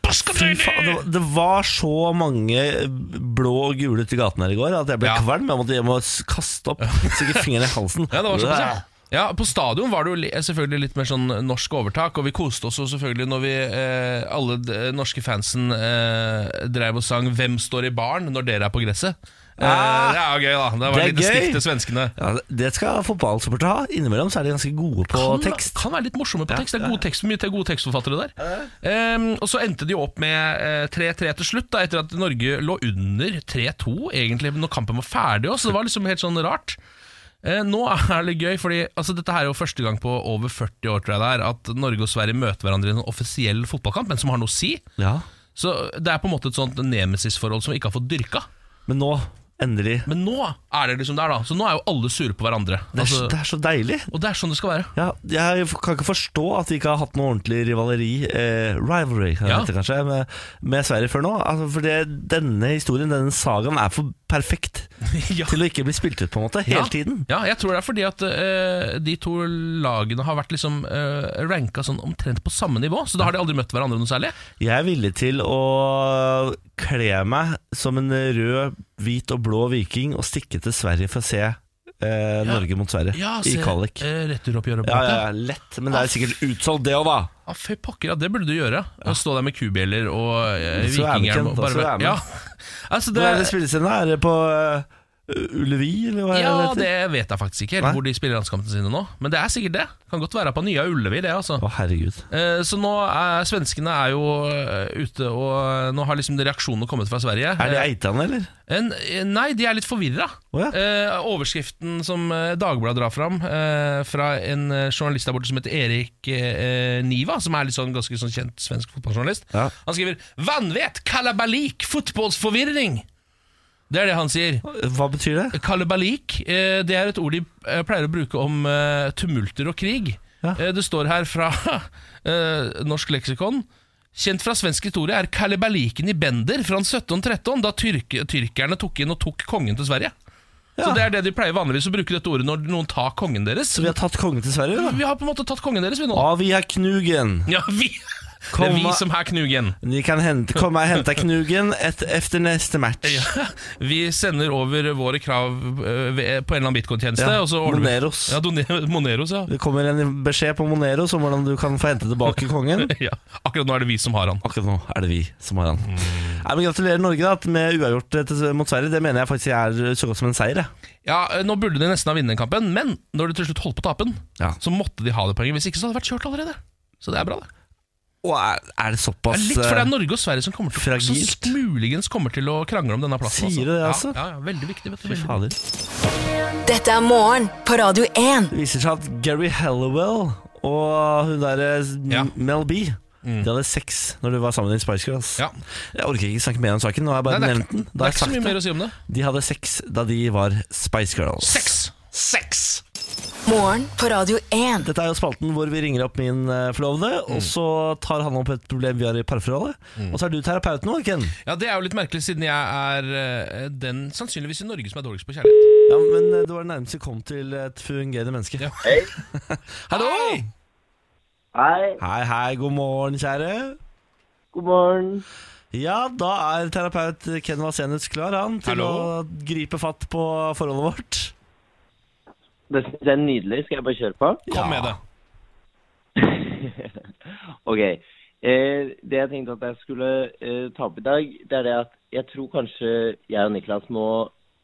[SPEAKER 1] faen, det,
[SPEAKER 2] Fy
[SPEAKER 1] var- det var så mange blå og gule ute i gaten her i går at jeg ble
[SPEAKER 2] Ja.
[SPEAKER 1] kvalm. Jeg måtte hjem og s- kaste opp sikkert fingeren i halsen.
[SPEAKER 2] Ja, det var såpass, ja. Ja, På stadion var det jo li- selvfølgelig litt mer sånn norsk overtak, og vi koste oss jo selvfølgelig når vi eh, alle d- norske fansen eh, drev og sang 'Hvem står i baren?' når dere er på gresset. Eh,
[SPEAKER 1] Ah,
[SPEAKER 2] det er jo gøy, da. Det var
[SPEAKER 1] det er
[SPEAKER 2] litt stikk
[SPEAKER 1] gøy.
[SPEAKER 2] til svenskene.
[SPEAKER 1] Ja, det skal fotballsupportere ha. Innimellom så er de ganske gode på
[SPEAKER 2] kan,
[SPEAKER 1] tekst.
[SPEAKER 2] Kan være litt morsomme på tekst. Det er god tekst, mye til gode tekstforfattere der. Ehm, og så endte de jo opp med eh, 3-3 til slutt, da, etter at Norge lå under 3-2 egentlig når kampen var ferdig. Også. så Det var liksom helt sånn rart. Eh, Eh, nå er det gøy, fordi altså, dette her er jo første gang på over 40 år tror jeg det er, at Norge og Sverige møter hverandre i en sånn offisiell fotballkamp, men som har noe å si.
[SPEAKER 1] Ja.
[SPEAKER 2] Så det er på en måte et sånt nemesisforhold som vi ikke har fått dyrka.
[SPEAKER 1] Men nå, endelig.
[SPEAKER 2] Men nå er det liksom der, da. Så nå er jo alle sure på hverandre.
[SPEAKER 1] Det er,
[SPEAKER 2] Altså,
[SPEAKER 1] det er så deilig.
[SPEAKER 2] og det er sånn det skal være.
[SPEAKER 1] Ja, jeg kan ikke forstå at de ikke har hatt noe ordentlig rivaleri, eh, rivalry kan det
[SPEAKER 2] Ja.
[SPEAKER 1] hete kanskje, med, med Sverige før nå. Altså, for det, denne historien, denne sagaen, er for perfekt
[SPEAKER 2] Ja.
[SPEAKER 1] til å ikke bli spilt ut på en måte, hele
[SPEAKER 2] Ja.
[SPEAKER 1] tiden.
[SPEAKER 2] Ja, jeg tror det er fordi at eh, de to lagene har vært liksom eh, ranka sånn omtrent på samme nivå, så da har de aldri møtt hverandre noe særlig.
[SPEAKER 1] Jeg er villig til å kle meg som en rød, hvit og blå viking og stikke til Sverige for å se eh, Norge mot Sverige i kvalik.
[SPEAKER 2] Uh, Returoppgjøret på
[SPEAKER 1] Ja, ja,
[SPEAKER 2] en måte.
[SPEAKER 1] ja, lett, men det
[SPEAKER 2] Ah.
[SPEAKER 1] er jo sikkert utsolgt det òg, da.
[SPEAKER 2] Ja, Fy pokker, ja, det burde du gjøre. Å stå der med kubjeller og uh,
[SPEAKER 1] Så er vi ikke
[SPEAKER 2] vikinghjelm.
[SPEAKER 1] en,
[SPEAKER 2] og
[SPEAKER 1] da,
[SPEAKER 2] bare-
[SPEAKER 1] så er vi.
[SPEAKER 2] Ja. Altså,
[SPEAKER 1] Hvor er det
[SPEAKER 2] det,
[SPEAKER 1] spillescenen? Er det på eh, Ullevi, eller hva
[SPEAKER 2] ja,
[SPEAKER 1] er det?
[SPEAKER 2] det vet jeg faktisk ikke helt,
[SPEAKER 1] Nei.
[SPEAKER 2] hvor de spiller landskampene sine nå. Men det er sikkert det. Kan godt være på Nya Ullevi, det, altså.
[SPEAKER 1] Å, herregud.
[SPEAKER 2] Eh, Så nå er svenskene er jo eh, ute, og eh, nå har liksom reaksjonene kommet fra Sverige.
[SPEAKER 1] Er det Eitan, eller?
[SPEAKER 2] Eh, en, eh, Nei, de er litt forvirra.
[SPEAKER 1] Å ja.
[SPEAKER 2] Eh, overskriften som eh, Dagbladet drar fram, eh, fra en eh, journalist der borte som heter Erik eh, Niva, som er litt sånn ganske sånn kjent svensk fotballjournalist,
[SPEAKER 1] Ja.
[SPEAKER 2] han skriver 'Vanvett! Kalabalik! Fotballsforvirring!' Det er det han sier.
[SPEAKER 1] Hva betyr det?
[SPEAKER 2] Kalabalik eh, det er et ord de eh, pleier å bruke om eh, tumulter og krig.
[SPEAKER 1] Ja.
[SPEAKER 2] Eh, det står her fra eh, norsk leksikon. Kjent fra svensk historie er kalabaliken i Bender fra 1713, da tyrk tyrkerne tok inn og tok kongen til Sverige. Så
[SPEAKER 1] Ja.
[SPEAKER 2] Det er det de pleier vanligvis å bruke dette ordet når noen tar kongen deres.
[SPEAKER 1] Så vi har tatt kongen til Sverige, da?
[SPEAKER 2] Vi har på en måte tatt kongen deres, vi nå.
[SPEAKER 1] Ja, vi har Knugen.
[SPEAKER 2] Ja, vi. Det
[SPEAKER 1] Komma.
[SPEAKER 2] er vi som er knugen.
[SPEAKER 1] Ni kan hente, komme og hente Knugen et, efter neste match.
[SPEAKER 2] Ja, vi sender over våre krav eh, ved- på en eller annen bitcoin-tjeneste.
[SPEAKER 1] Ja,
[SPEAKER 2] og så ordner vi-
[SPEAKER 1] Moneros.
[SPEAKER 2] Ja, doner- Moneros, ja.
[SPEAKER 1] Det kommer en beskjed på Moneros om hvordan du kan få hente tilbake kongen.
[SPEAKER 2] ja. Akkurat nå er det vi som har han.
[SPEAKER 1] Akkurat nå er det vi som har han. Nei, men Gratulerer Norge da, med uavgjort eh, til- mot Sverige. Det mener jeg faktisk er så godt som en seier. jeg.
[SPEAKER 2] Ja, eh, Nå burde de nesten ha vunnet den kampen, men når de til slutt holdt på å tape den,
[SPEAKER 1] Ja.
[SPEAKER 2] så måtte de ha det poenget. Hvis ikke så hadde det vært kjørt allerede. Så det er bra, det.
[SPEAKER 1] Og er, er det
[SPEAKER 2] det
[SPEAKER 1] såpass eh,
[SPEAKER 2] er litt for det er Norge og Sverige som kommer til
[SPEAKER 1] Altså, fragilt.
[SPEAKER 2] Som muligens kommer til å krangle om denne plassen.
[SPEAKER 1] Sier du det, altså?
[SPEAKER 2] Ja, ja, ja, veldig viktig. Vet du,
[SPEAKER 1] eh,
[SPEAKER 2] veldig.
[SPEAKER 1] fader.
[SPEAKER 3] Dette er morgen på Radio 1.
[SPEAKER 1] Det viser seg at Gary Hallowell og hun derre
[SPEAKER 2] Ja. Mm.
[SPEAKER 1] Mel B De hadde sex når de var sammen i Spice Girls.
[SPEAKER 2] Ja.
[SPEAKER 1] Jeg orker ikke snakke mer om saken. Nå har jeg bare
[SPEAKER 2] Nei, det er
[SPEAKER 1] nevnt den. Da
[SPEAKER 2] Det
[SPEAKER 1] har
[SPEAKER 2] er
[SPEAKER 1] jeg
[SPEAKER 2] ikke så
[SPEAKER 1] sagt
[SPEAKER 2] mye
[SPEAKER 1] det.
[SPEAKER 2] mer å si om det.
[SPEAKER 1] De hadde sex da de var Spice Girls.
[SPEAKER 2] Seks! Seks!
[SPEAKER 3] Morgen på Radio 1.
[SPEAKER 1] Dette er jo spalten hvor vi ringer opp min eh, forlovede,
[SPEAKER 2] Mm.
[SPEAKER 1] og så tar han opp et problem vi har i parforholdet. Og så er du terapeuten vår, Ken.
[SPEAKER 2] Ja, Det er jo litt merkelig, siden jeg er eh, den sannsynligvis i Norge som er dårligst på kjærlighet.
[SPEAKER 1] Ja, men eh, det var det nærmeste vi kom til et fungerende menneske.
[SPEAKER 2] Ja.
[SPEAKER 4] Hei.
[SPEAKER 1] Hallo!
[SPEAKER 4] Hei,
[SPEAKER 1] Hei, hei, god morgen, kjære.
[SPEAKER 4] god morgen.
[SPEAKER 1] Ja, da er terapeut Ken Vasenius klar, han, til å
[SPEAKER 2] Hallo.
[SPEAKER 1] gripe fatt på forholdet vårt.
[SPEAKER 4] Det synes jeg er nydelig. Skal jeg bare kjøre på?
[SPEAKER 1] Ja.
[SPEAKER 2] Kom med det.
[SPEAKER 4] Ok. Eh, det jeg tenkte at jeg skulle eh, ta opp i dag, det er det at jeg tror kanskje jeg og Niklas må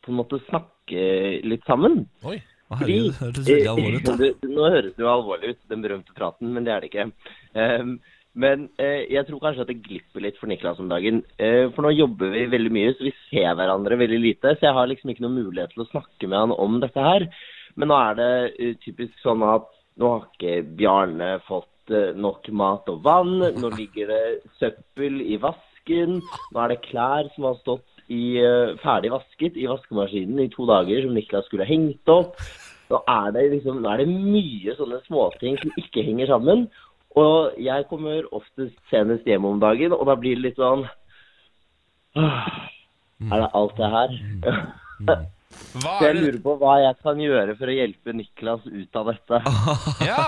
[SPEAKER 4] på en måte snakke litt sammen.
[SPEAKER 2] Oi.
[SPEAKER 1] Å, herregud, det hørtes veldig alvorlig ut. da.
[SPEAKER 4] Eh, Det, nå høres det jo alvorlig ut, den berømte praten, men det er det ikke. Ehm, men eh, jeg tror kanskje at det glipper litt for Niklas om dagen. Eh, for nå jobber vi veldig mye, så vi ser hverandre veldig lite. Så jeg har liksom ikke noen mulighet til å snakke med han om dette her. Men nå er det eh, typisk sånn at nå har ikke Bjarne fått eh, nok mat og vann. Nå ligger det søppel i vasken. Nå er det klær som har stått i, eh, ferdig vasket i vaskemaskinen i to dager, som Niklas skulle ha hengt opp. Nå er det liksom, nå er det mye sånne småting som ikke henger sammen. Og jeg kommer oftest senest hjem om dagen, og da blir det litt sånn «Åh, Er det alt det her?
[SPEAKER 2] Hva
[SPEAKER 4] Så jeg
[SPEAKER 2] er det?
[SPEAKER 4] lurer på hva jeg kan gjøre for å hjelpe Niklas ut av dette.
[SPEAKER 2] Ja,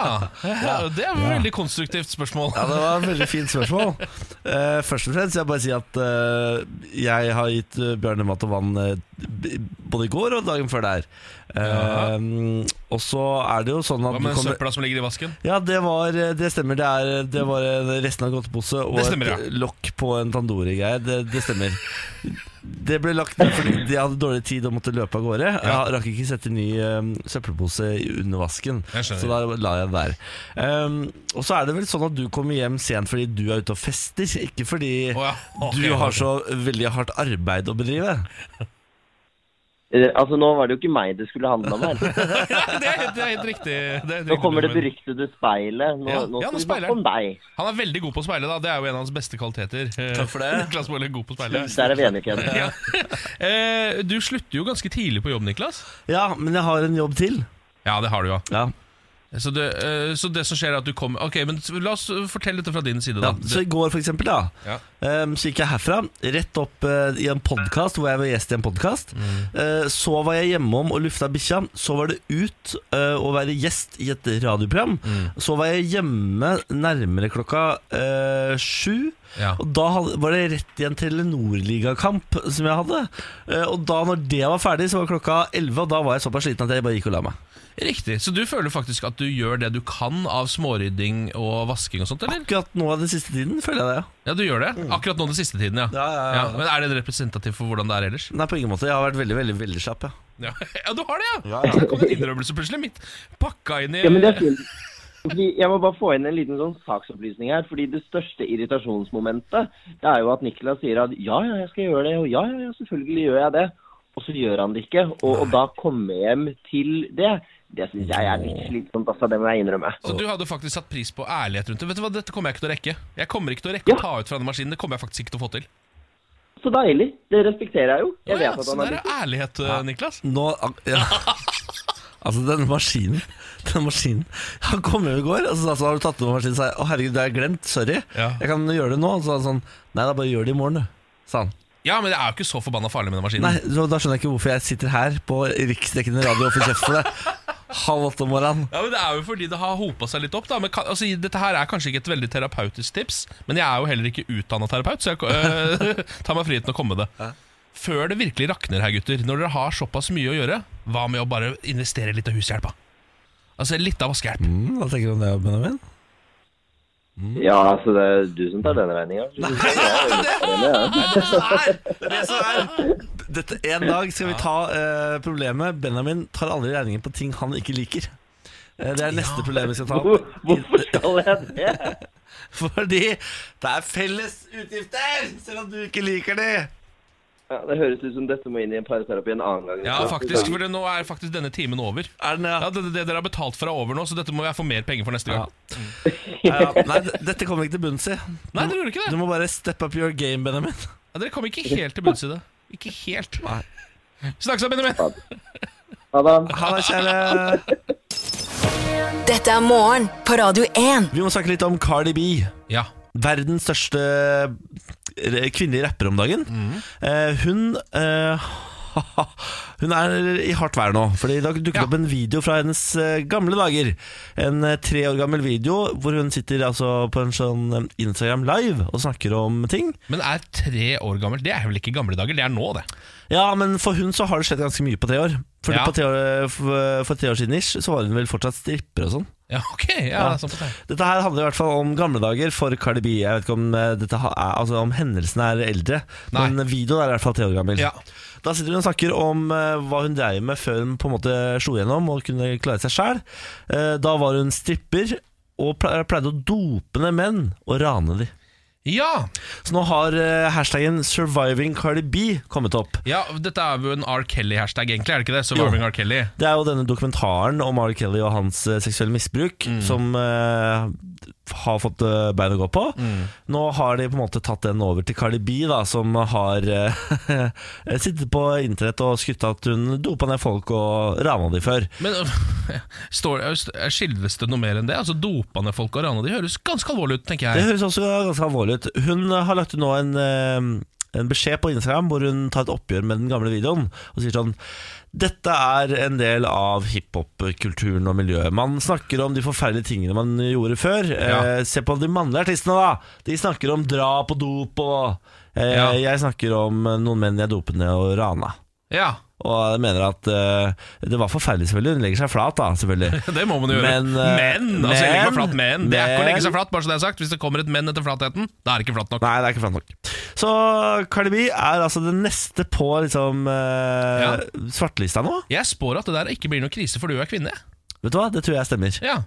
[SPEAKER 2] Det er et veldig konstruktivt spørsmål.
[SPEAKER 1] Ja, det var et veldig fint spørsmål. Eh, først og fremst vil jeg bare si at eh, jeg har gitt eh, Bjørne mat og vann eh, b- både i går og dagen før der. Eh, Og så er det jo sånn at
[SPEAKER 2] Hva
[SPEAKER 1] du
[SPEAKER 2] med
[SPEAKER 1] kommer
[SPEAKER 2] søpla som ligger i vasken?
[SPEAKER 1] ja, det, var, eh, det stemmer. Det, er, det var en resten av en godtepose og
[SPEAKER 2] Det stemmer,
[SPEAKER 1] et
[SPEAKER 2] ja.
[SPEAKER 1] eh, lokk på en tandori-greie. Det, det stemmer. Det ble lagt ned fordi de hadde dårlig tid og måtte løpe av gårde.
[SPEAKER 2] Ja.
[SPEAKER 1] Jeg rakk ikke sette ny eh, søppelpose i- under vasken,
[SPEAKER 2] Jeg skjønner.
[SPEAKER 1] så da la jeg den der. Ehm, og så er det vel sånn at du kommer hjem sent fordi du er ute og fester, ikke fordi
[SPEAKER 2] Å ja. Ok,
[SPEAKER 1] du har
[SPEAKER 2] ok.
[SPEAKER 1] så veldig hardt arbeid å bedrive.
[SPEAKER 4] Eh, Altså, nå var det jo ikke meg det skulle handle om her.
[SPEAKER 2] det, er, helt- det er helt riktig. Det er helt
[SPEAKER 4] Nå
[SPEAKER 2] riktig,
[SPEAKER 4] kommer det
[SPEAKER 2] men-
[SPEAKER 4] beryktede speilet. Nå,
[SPEAKER 2] Ja,
[SPEAKER 4] nå
[SPEAKER 2] ja, nå
[SPEAKER 4] skal vi
[SPEAKER 2] speiler
[SPEAKER 4] snakke om deg.
[SPEAKER 2] Han er veldig god på å speile, da. Det er jo en av hans beste kvaliteter.
[SPEAKER 1] Takk for det.
[SPEAKER 2] Niklas Baarli er god på å speile.
[SPEAKER 4] Der er vi enige, Ken.
[SPEAKER 2] Ja. Eh, Du slutter jo ganske tidlig på jobb, Niklas.
[SPEAKER 1] Ja, men jeg har en jobb til.
[SPEAKER 2] Ja, det har du, ja.
[SPEAKER 1] Ja.
[SPEAKER 2] Så det, eh, så det som skjer, er at du kommer Ok, men la oss fortelle dette fra din side, da.
[SPEAKER 1] Ja, så i går for eksempel da
[SPEAKER 2] Ja.
[SPEAKER 1] ehm, Så gikk jeg herfra Rett opp eh, i en podcast Hvor jeg var gjest i en podcast Eh, Så var jeg hjemme om og lufta bikkja Så var det ut eh, å være gjest i et radioprogram Så var jeg hjemme nærmere klokka eh, sju
[SPEAKER 2] Ja.
[SPEAKER 1] Og da had- var det rett i en Telenor-ligakamp Som jeg hadde Eh, Og da når det var ferdig så var klokka 11 Og da var jeg såpass sliten at jeg bare gikk og la meg
[SPEAKER 2] Riktig. Så du føler faktisk at du gjør det du kan av smårydding og vasking og sånt, eller?
[SPEAKER 1] Akkurat nå av den siste tiden føler jeg det ja.
[SPEAKER 2] Ja, du gjør det? Akkurat nå den siste tiden, ja.
[SPEAKER 1] Ja, ja, ja.
[SPEAKER 2] Men er det representativt for hvordan det er ellers?
[SPEAKER 1] Nei på ingen måte, jeg har vært veldig, veldig, veldig slapp ja.
[SPEAKER 2] Ja, ja du har det, ja!
[SPEAKER 1] Ja, ja.
[SPEAKER 2] Det kom en innrømmelse plutselig. Mitt pakka inn i
[SPEAKER 4] Ja, men det er fint. Fordi jeg må bare få inn en liten sånn saksopplysning her. fordi Det største irritasjonsmomentet det er jo at Niklas sier at ja, ja, jeg skal gjøre det, og ja, ja, ja, selvfølgelig gjør jeg det. Og så gjør han det ikke. Og, og da komme hjem til det, det syns jeg er litt slitsomt. Altså, det må jeg innrømme.
[SPEAKER 2] Så du hadde faktisk satt pris på ærlighet rundt det. Vet du hva, Dette kommer jeg ikke til å rekke. Jeg kommer ikke til å rekke
[SPEAKER 4] Ja.
[SPEAKER 2] å ta ut fra denne maskinen. Det kommer jeg faktisk ikke til å få til.
[SPEAKER 4] Så deilig. Det respekterer jeg jo. Jeg
[SPEAKER 2] Ja,
[SPEAKER 4] vet at
[SPEAKER 2] så
[SPEAKER 4] han
[SPEAKER 2] der
[SPEAKER 4] er
[SPEAKER 2] er ærlighet, eh, Niklas.
[SPEAKER 1] Nå ja. Altså, denne maskinen Denne maskinen Han kom jo i går og så sa han, så har du tatt over maskinen. Så sa jeg, å herregud, det har jeg glemt, sorry.
[SPEAKER 2] Ja.
[SPEAKER 1] Jeg kan gjøre det nå. Og så sa han sånn, nei da, bare gjør det i morgen, du. Sa han.
[SPEAKER 2] Ja, men det er jo ikke så forbanna farlig med den maskinen.
[SPEAKER 1] Nei, så, da skjønner jeg ikke hvorfor jeg sitter her på riksdekkende radio og får kjeft for det. Halv åtte om morgenen.
[SPEAKER 2] Ja, men Det er jo fordi det har hopa seg litt opp. da Men kan, altså, Dette her er kanskje ikke et veldig terapeutisk tips, men jeg er jo heller ikke utdanna terapeut, så jeg øh, tar meg friheten å komme med det. Før det virkelig rakner her, gutter, når dere har såpass mye å gjøre, hva med å bare investere litt av hushjelpa? Altså litt av vaskehjelp.
[SPEAKER 1] Mm, hva tenker du om det, Benjamin?
[SPEAKER 4] Ja, altså, det er du som tar den regninga.
[SPEAKER 1] Dette, en dag skal vi ta eh, problemet. Benjamin tar aldri regningen på ting han ikke liker. Eh, det er neste problem vi skal ta opp.
[SPEAKER 4] Hvorfor skal jeg det?
[SPEAKER 1] Fordi det er felles utgifter, selv om du ikke liker de.
[SPEAKER 4] Ja, det høres ut som dette må inn i en parterapi en annen gang.
[SPEAKER 2] Ja, faktisk, for det, nå er faktisk denne timen over.
[SPEAKER 1] Er den, ja.
[SPEAKER 2] Ja, det, det dere har betalt for er over nå, så dette må jeg få mer penger for neste gang.
[SPEAKER 1] Ja, ja. Nei, d- dette kommer vi ikke til bunns i.
[SPEAKER 2] Nei, dere gjorde ikke
[SPEAKER 1] Du
[SPEAKER 2] det.
[SPEAKER 1] må bare step up your game, Benjamin.
[SPEAKER 2] Ja, dere kom ikke helt til bunns i det. Ikke helt.
[SPEAKER 1] Nei.
[SPEAKER 2] Snakkes, Benjamin.
[SPEAKER 4] Ha det.
[SPEAKER 1] Ha det, kjære.
[SPEAKER 3] Dette er morgen på Radio 1.
[SPEAKER 1] Vi må snakke litt om Cardi B.
[SPEAKER 2] Ja.
[SPEAKER 1] Verdens største re- kvinnelige rapper om dagen.
[SPEAKER 2] Mhm.
[SPEAKER 1] Eh, hun eh, hun er i hardt vær nå, Fordi det har dukket
[SPEAKER 2] Ja.
[SPEAKER 1] opp en video fra hennes eh, gamle dager. En eh, tre år gammel video hvor hun sitter altså på en sånn eh, Instagram live og snakker om ting.
[SPEAKER 2] Men er tre år gammel Det er vel ikke gamle dager, det er nå, det.
[SPEAKER 1] Ja, men for hun så har det skjedd ganske mye på tre år. For,
[SPEAKER 2] Ja.
[SPEAKER 1] på tre år for, for tre år siden ish, så var hun vel fortsatt stripper og sånn.
[SPEAKER 2] Ja, ok, ja, sånn på tegn.
[SPEAKER 1] Dette her handler i hvert fall om gamle dager for Cardi B. Jeg vet ikke om, eh, dette ha- er, altså, om hendelsen er eldre,
[SPEAKER 2] Nei.
[SPEAKER 1] men videoen er i hvert fall tre år gammel.
[SPEAKER 2] Ja.
[SPEAKER 1] Da sitter hun og snakker om eh, hva hun dreier med før hun på en måte slo gjennom og kunne klare seg sjæl. da var hun stripper og ple- pleide å dope ned menn og rane de.
[SPEAKER 2] Ja,
[SPEAKER 1] Så nå har eh, hashtaggen 'surviving Cardi B' kommet opp.
[SPEAKER 2] ja, dette er jo en R. Kelly-hashtag, egentlig, er det ikke det? Surviving R. Kelly.
[SPEAKER 1] Det er jo denne dokumentaren om R. Kelly og hans eh, seksuelle misbruk som eh, har fått eh, bein å gå på. Nå har de på en måte tatt den over til Cardi B, da, som har eh, sittet på internett og skrytt av at hun dopa ned folk og rana de før.
[SPEAKER 2] Men øh, står, øh, skildres det noe mer enn det? Altså Dopende folk og rana de høres ganske alvorlig ut, tenker
[SPEAKER 1] Det
[SPEAKER 2] jeg.
[SPEAKER 1] høres også ganske alvorlig ut. Hun har lagt ut nå en, eh, en beskjed på Instagram hvor hun tar et oppgjør med den gamle videoen og sier sånn dette er en del av hiphop-kulturen og miljøet. Man snakker om de forferdelige tingene man gjorde før. Eh, se på de mannlige artistene, da. De snakker om drap og dop og eh,
[SPEAKER 2] Ja.
[SPEAKER 1] Jeg snakker om noen menn jeg dopet ned og rana.
[SPEAKER 2] Ja,
[SPEAKER 1] Og jeg mener at eh, det var forferdelig, selvfølgelig. Hun legger seg flat, da, selvfølgelig.
[SPEAKER 2] det må man jo gjøre.
[SPEAKER 1] Men, øh,
[SPEAKER 2] men altså, jeg legger meg
[SPEAKER 1] men-
[SPEAKER 2] flatt, men Det er ikke å legge
[SPEAKER 1] men-
[SPEAKER 2] seg flatt, bare så det er sagt. Hvis det kommer et men etter flatheten, da er det ikke flatt nok.
[SPEAKER 1] Nei, det er ikke flatt nok. Så Cardi B er altså den neste på liksom, eh,
[SPEAKER 2] Ja.
[SPEAKER 1] svartelista nå.
[SPEAKER 2] Jeg spår at det der ikke blir noe krise, for du er kvinne.
[SPEAKER 1] Vet du hva, det tror jeg stemmer.
[SPEAKER 2] Ja,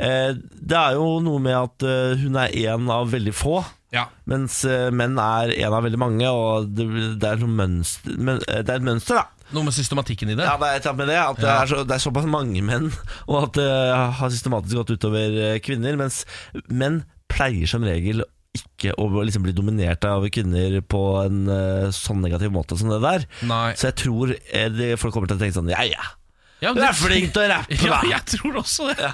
[SPEAKER 1] Eh, det er jo noe med at eh, hun er en av veldig få.
[SPEAKER 2] Ja.
[SPEAKER 1] Mens eh, menn er en av veldig mange, og det, det, er, noe mønster, men, eh, det er et mønster, da.
[SPEAKER 2] Noe med systematikken i det.
[SPEAKER 1] Ja, det er et eller annet med det. At det,
[SPEAKER 2] Ja.
[SPEAKER 1] er så, det er såpass mange menn, og at det har systematisk gått utover eh, kvinner. Mens menn pleier som regel ikke å liksom bli dominert av kvinner på en eh, sånn negativ måte som det der.
[SPEAKER 2] Nei.
[SPEAKER 1] Så jeg tror eh, de, folk kommer til å tenke sånn Ja, ja.
[SPEAKER 2] Ja, men
[SPEAKER 1] Du
[SPEAKER 2] det-
[SPEAKER 1] er flink til å rappe,
[SPEAKER 2] Ja,
[SPEAKER 1] da.
[SPEAKER 2] jeg tror også det.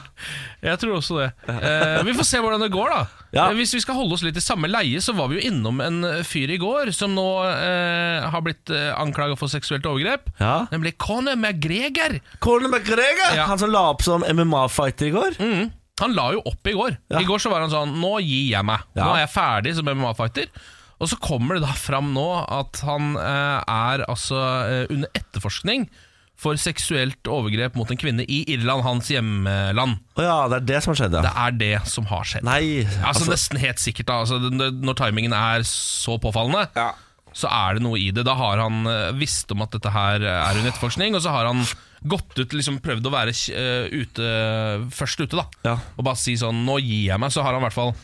[SPEAKER 2] Jeg tror også det Eh, Vi får se hvordan det går, da.
[SPEAKER 1] Ja.
[SPEAKER 2] Eh, Hvis vi skal holde oss litt i samme leie, så var vi jo innom en eh, fyr i går som nå eh, har blitt eh, anklaga for seksuelt overgrep.
[SPEAKER 1] Ja.
[SPEAKER 2] Nemlig Conor McGregor.
[SPEAKER 1] Conor McGregor!
[SPEAKER 2] Ja. Mm.
[SPEAKER 1] Han som la opp som MMA-fighter i går.
[SPEAKER 2] Han la jo opp i går.
[SPEAKER 1] Ja.
[SPEAKER 2] I går så var han sånn Nå gir jeg meg.
[SPEAKER 1] Ja.
[SPEAKER 2] Nå er jeg ferdig som MMA-fighter. Og så kommer det da fram nå at han eh, er altså eh, under etterforskning for seksuelt overgrep mot en kvinne i Irland, hans hjemland.
[SPEAKER 1] Å ja, det er det som har skjedd,
[SPEAKER 2] Det
[SPEAKER 1] ja.
[SPEAKER 2] er det som har skjedd.
[SPEAKER 1] Nei,
[SPEAKER 2] Altså,
[SPEAKER 1] altså-
[SPEAKER 2] Nesten helt sikkert, da. Altså, det- det- når timingen er så påfallende, så er det noe i det. Da har han eh, visst om at dette her eh, er under etterforskning, og så har han gått ut, liksom prøvd å være eh, ute først ute, da.
[SPEAKER 1] Ja.
[SPEAKER 2] Og bare si sånn 'nå gir jeg meg', så har han i hvert fall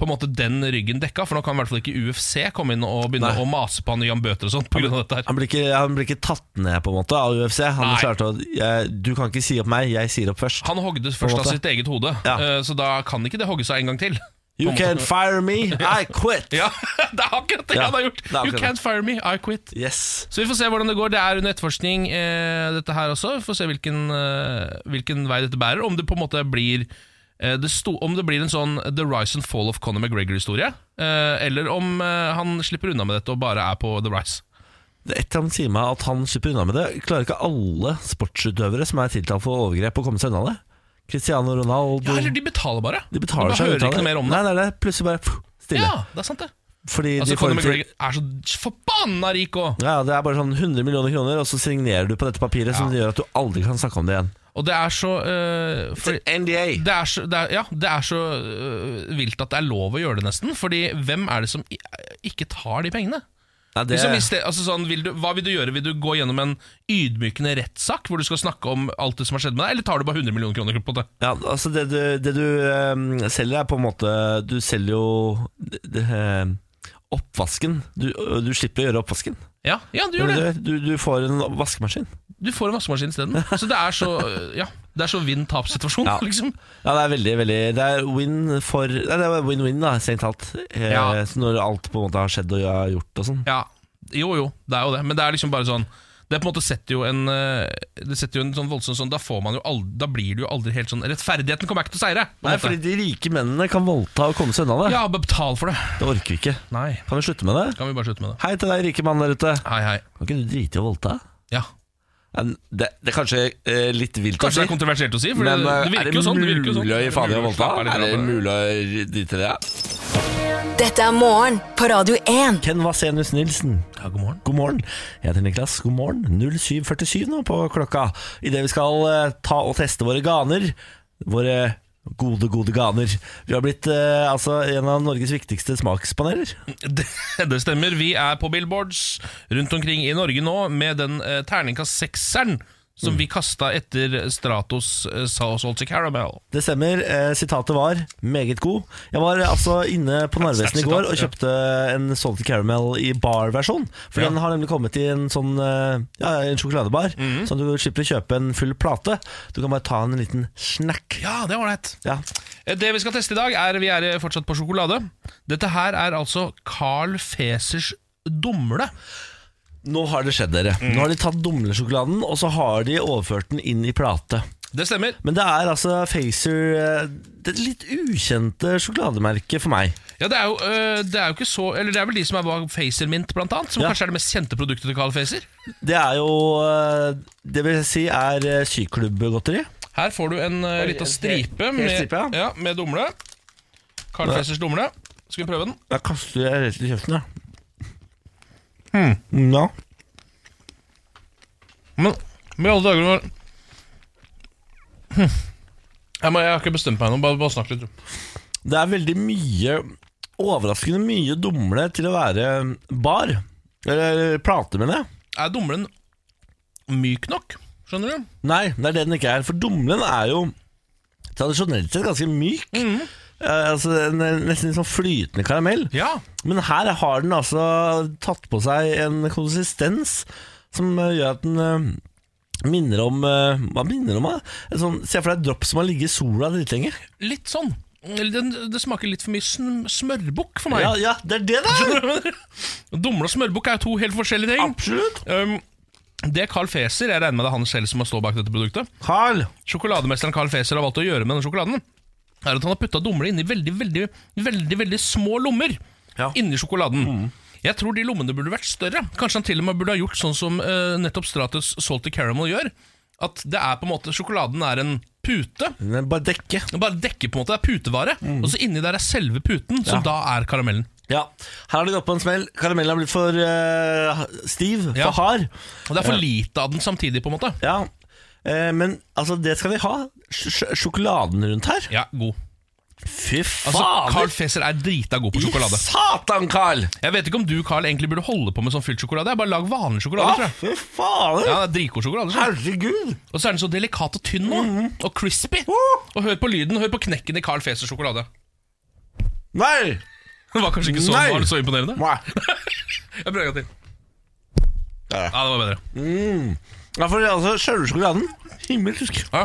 [SPEAKER 2] på en måte den ryggen dekka, for nå kan i hvert fall ikke UFC komme inn og begynne
[SPEAKER 1] Nei.
[SPEAKER 2] å mase på han Jan Bøter og sånt på grunn av dette her.
[SPEAKER 1] Han blir, ikke, han blir ikke tatt ned på en måte av UFC. Han
[SPEAKER 2] Nei.
[SPEAKER 1] klarte å jeg, Du kan ikke si opp meg, jeg sier opp først.
[SPEAKER 2] Han hogde først av
[SPEAKER 1] måte.
[SPEAKER 2] sitt eget hode,
[SPEAKER 1] Ja.
[SPEAKER 2] eh, så da kan ikke det hogges av en gang til.
[SPEAKER 1] You
[SPEAKER 2] på en
[SPEAKER 1] can
[SPEAKER 2] måte.
[SPEAKER 1] fire me, I quit!
[SPEAKER 2] Ja, det er akkurat det
[SPEAKER 1] Ja,
[SPEAKER 2] han har gjort!
[SPEAKER 1] det er
[SPEAKER 2] You
[SPEAKER 1] akkurat
[SPEAKER 2] can't fire me, I quit.
[SPEAKER 1] Yes.
[SPEAKER 2] Så vi får se hvordan det går. Det er under etterforskning, eh, dette her også. Vi får se hvilken, eh, hvilken vei dette bærer. Om det på en måte blir eh, det sto, Om det blir en sånn The Rise and Fall of Conor McGregor-historie. Eh, eller om eh, han slipper unna med dette og bare er på The Rise.
[SPEAKER 1] Det er Et eller annet sier meg at han slipper unna med det. Klarer ikke alle sportsutøvere som er tiltalt for overgrep, å komme seg unna det? Cristiano Ronaldo
[SPEAKER 2] Ja, eller de betaler bare.
[SPEAKER 1] De betaler
[SPEAKER 2] bare
[SPEAKER 1] seg
[SPEAKER 2] hører
[SPEAKER 1] ut av
[SPEAKER 2] ikke noe mer om
[SPEAKER 1] Nei,
[SPEAKER 2] det.
[SPEAKER 1] nei, nei, plutselig bare pff, stille.
[SPEAKER 2] ja, det er sant, det.
[SPEAKER 1] Fordi
[SPEAKER 2] Altså,
[SPEAKER 1] de får
[SPEAKER 2] Conor
[SPEAKER 1] til-
[SPEAKER 2] McGregor er så forbanna rik òg.
[SPEAKER 1] ja, Det er bare sånn 100 millioner kroner, og så signerer du på dette papiret, som gjør at du aldri kan snakke om det igjen.
[SPEAKER 2] Og det er så eh, fordi-
[SPEAKER 1] NDA.
[SPEAKER 2] det er så, det er, ja, det er så øh, vilt at det er lov å gjøre det, nesten. Fordi hvem er det som i- ikke tar de pengene?
[SPEAKER 1] Nei, det,
[SPEAKER 2] Liksom, hvis det, altså sånn, vil du, hva vil du gjøre? Vil du gå gjennom en ydmykende rettssak hvor du skal snakke om alt det som har skjedd med deg, eller tar du bare 100 millioner kroner? på det?
[SPEAKER 1] Ja, altså det du, det du eh, selger er på en måte Du selger jo det, det, eh, oppvasken. Du, du slipper å gjøre oppvasken.
[SPEAKER 2] Ja, ja du gjør det.
[SPEAKER 1] Du, du, du får en vaskemaskin.
[SPEAKER 2] Du får en vaskemaskin isteden. Så det er så, øh, ja, det er så vinn-tap-situasjon,
[SPEAKER 1] Ja.
[SPEAKER 2] liksom.
[SPEAKER 1] Ja, det er veldig, veldig Det er win for Nei, det er win-win, da, strengt talt. Eh,
[SPEAKER 2] Ja.
[SPEAKER 1] så Når alt på en måte har skjedd og jeg har gjort og sånn.
[SPEAKER 2] Ja, jo jo, det er jo det. Men det er liksom bare sånn det på en måte setter jo en øh, Det setter jo en sånn voldsom sånn Da, får man jo aldri, da blir du jo aldri helt sånn Rettferdigheten kommer ikke til å seire! på en
[SPEAKER 1] Nei,
[SPEAKER 2] måte.
[SPEAKER 1] fordi de rike mennene kan voldta og komme seg unna det.
[SPEAKER 2] Ja, bare betal for det.
[SPEAKER 1] Det orker vi ikke.
[SPEAKER 2] Nei.
[SPEAKER 1] Kan vi slutte med det?
[SPEAKER 2] Kan vi bare slutte med det?
[SPEAKER 1] Hei til deg, rike mann der ute.
[SPEAKER 2] Hei, hei.
[SPEAKER 1] Kan ikke du drite i å voldta?
[SPEAKER 2] Ja.
[SPEAKER 1] Ja, Det, det er kanskje eh, litt vilt
[SPEAKER 2] Kanskje det er kontroversielt å si, for
[SPEAKER 1] Men
[SPEAKER 2] det,
[SPEAKER 1] eh,
[SPEAKER 2] det
[SPEAKER 1] er
[SPEAKER 2] virker
[SPEAKER 1] det
[SPEAKER 2] jo sånn. Det virker jo sånn.
[SPEAKER 1] mulig å gi faen i å voldta?
[SPEAKER 2] Slapp av litt
[SPEAKER 1] Er det
[SPEAKER 2] grann.
[SPEAKER 1] mulig å drite i det?
[SPEAKER 3] Dette er morgen på Radio 1.
[SPEAKER 1] Ken Vasenius Nilsen,
[SPEAKER 2] Ja, god morgen.
[SPEAKER 1] god morgen. Jeg heter Niklas, god morgen. 07.47 nå på klokka. Idet vi skal eh, ta og teste våre ganer. Våre gode, gode ganer. Vi har blitt eh, altså en av Norges viktigste smakspaneler.
[SPEAKER 2] Det, det stemmer. Vi er på billboards rundt omkring i Norge nå med den eh, terningkast sekseren
[SPEAKER 1] Mm.
[SPEAKER 2] som vi kasta etter Stratos eh, Sauce Salty Caramel.
[SPEAKER 1] Det stemmer. Eh, sitatet var meget god. Jeg var eh, altså inne på Narvesen i
[SPEAKER 2] Sterkt
[SPEAKER 1] går og
[SPEAKER 2] sitat,
[SPEAKER 1] kjøpte en Salty Caramel i bar-versjon. For
[SPEAKER 2] Ja.
[SPEAKER 1] den har nemlig kommet i en sånn eh, ja, en sjokoladebar, sånn at du slipper å kjøpe en full plate. Du kan bare ta en liten snack.
[SPEAKER 2] Ja, det er ålreit.
[SPEAKER 1] Ja.
[SPEAKER 2] Eh, Det vi skal teste i dag, er vi er eh, fortsatt på sjokolade. Dette her er altså Carl Fesers dumle.
[SPEAKER 1] Nå har det skjedd, dere. Nå har de tatt dumlesjokoladen, og så har de overført den inn i plate.
[SPEAKER 2] Det stemmer.
[SPEAKER 1] Men det er altså Facer eh, Det litt ukjente sjokolademerket for meg.
[SPEAKER 2] Ja, det er, jo, øh, det er jo ikke så Eller det er vel de som er bak Facer Mint, blant annet. Som
[SPEAKER 1] Ja.
[SPEAKER 2] kanskje er det mest kjente produktet til Carl Facer.
[SPEAKER 1] Det er jo eh, Det vil jeg si er eh, syklubbgodteri.
[SPEAKER 2] Her får du en uh, lita stripe
[SPEAKER 1] hel
[SPEAKER 2] med,
[SPEAKER 1] stripe, ja.
[SPEAKER 2] ja, med dumle. Carl Facers dumle. Skal vi prøve den?
[SPEAKER 1] Da kaster jeg rett i kjeften, ja. Ja.
[SPEAKER 2] Men med alle dager når... Hm. jeg, må, jeg har ikke bestemt meg ennå. Bare, bare snakk litt. du.
[SPEAKER 1] Det er veldig mye Overraskende mye dumle til å være bar. Eller plate, mener jeg.
[SPEAKER 2] Er dumlen myk nok? Skjønner du?
[SPEAKER 1] Nei, det er det den ikke er. For dumlen er jo tradisjonelt sett ganske myk. eh, altså, en, en- nesten litt sånn flytende karamell.
[SPEAKER 2] Ja.
[SPEAKER 1] Men her har den altså tatt på seg en konsistens som eh, gjør at den eh, minner om eh, Hva minner den om? da? En sånn, se for deg et dropp som har ligget i sola dritlenge.
[SPEAKER 2] Litt sånn. Eller Den, det smaker litt for mye sn smørbukk for meg.
[SPEAKER 1] Ja, ja, det er det det er!
[SPEAKER 2] Dumle og smørbukk er jo to helt forskjellige ting.
[SPEAKER 1] Absolutt.
[SPEAKER 2] Um, det er Carl Feser, jeg regner med det er han selv som må stå bak dette produktet.
[SPEAKER 1] Carl,
[SPEAKER 2] Sjokolademesteren Carl Feser har valgt å gjøre med denne sjokoladen, er at han har putta dumle inni veldig, veldig, veldig veldig små lommer
[SPEAKER 1] Ja. Mm.
[SPEAKER 2] inni sjokoladen. Jeg tror de lommene burde vært større. Kanskje han til og med burde ha gjort sånn som eh, nettopp Stratus Salty Caramel gjør. At det er på en måte sjokoladen er en pute.
[SPEAKER 1] den er bare dekke.
[SPEAKER 2] Den bare dekker på en måte, det er putevare, og så inni der er selve puten, som
[SPEAKER 1] Mm. Ja.
[SPEAKER 2] da er karamellen.
[SPEAKER 1] Ja, Her har de gått på en smell. Karamellen har blitt for eh, stiv,
[SPEAKER 2] Ja.
[SPEAKER 1] for hard.
[SPEAKER 2] Og det er for lite av den samtidig, på en måte.
[SPEAKER 1] Ja, eh, Men altså, det skal de ha. Sj sj- sjokoladen rundt her.
[SPEAKER 2] Ja, god.
[SPEAKER 1] Fy
[SPEAKER 2] Altså,
[SPEAKER 1] fader!
[SPEAKER 2] Carl Feser er drita god på
[SPEAKER 1] I
[SPEAKER 2] sjokolade.
[SPEAKER 1] satan, Carl!
[SPEAKER 2] Jeg vet ikke om du, Carl, egentlig burde holde på med sånn fylt sjokolade. Jeg bare lag vanlig
[SPEAKER 1] Å,
[SPEAKER 2] sjokolade, tror jeg.
[SPEAKER 1] fy fader!
[SPEAKER 2] Ja, det er dritgod sjokolade. tror jeg.
[SPEAKER 1] Herregud!
[SPEAKER 2] Og så er den så delikat og tynn nå.
[SPEAKER 1] Mm-hmm.
[SPEAKER 2] Og crispy. Og hør på lyden. Hør på knekken i Carl Fesers sjokolade.
[SPEAKER 1] Nei!
[SPEAKER 2] Det var kanskje ikke så,
[SPEAKER 1] Nei.
[SPEAKER 2] var det så imponerende.
[SPEAKER 1] Nei.
[SPEAKER 2] Jeg prøver en gang til.
[SPEAKER 1] Ja.
[SPEAKER 2] Ja, det var bedre.
[SPEAKER 1] Ja, for altså, sjølve sjokoladen Himmelsk.
[SPEAKER 2] Ja.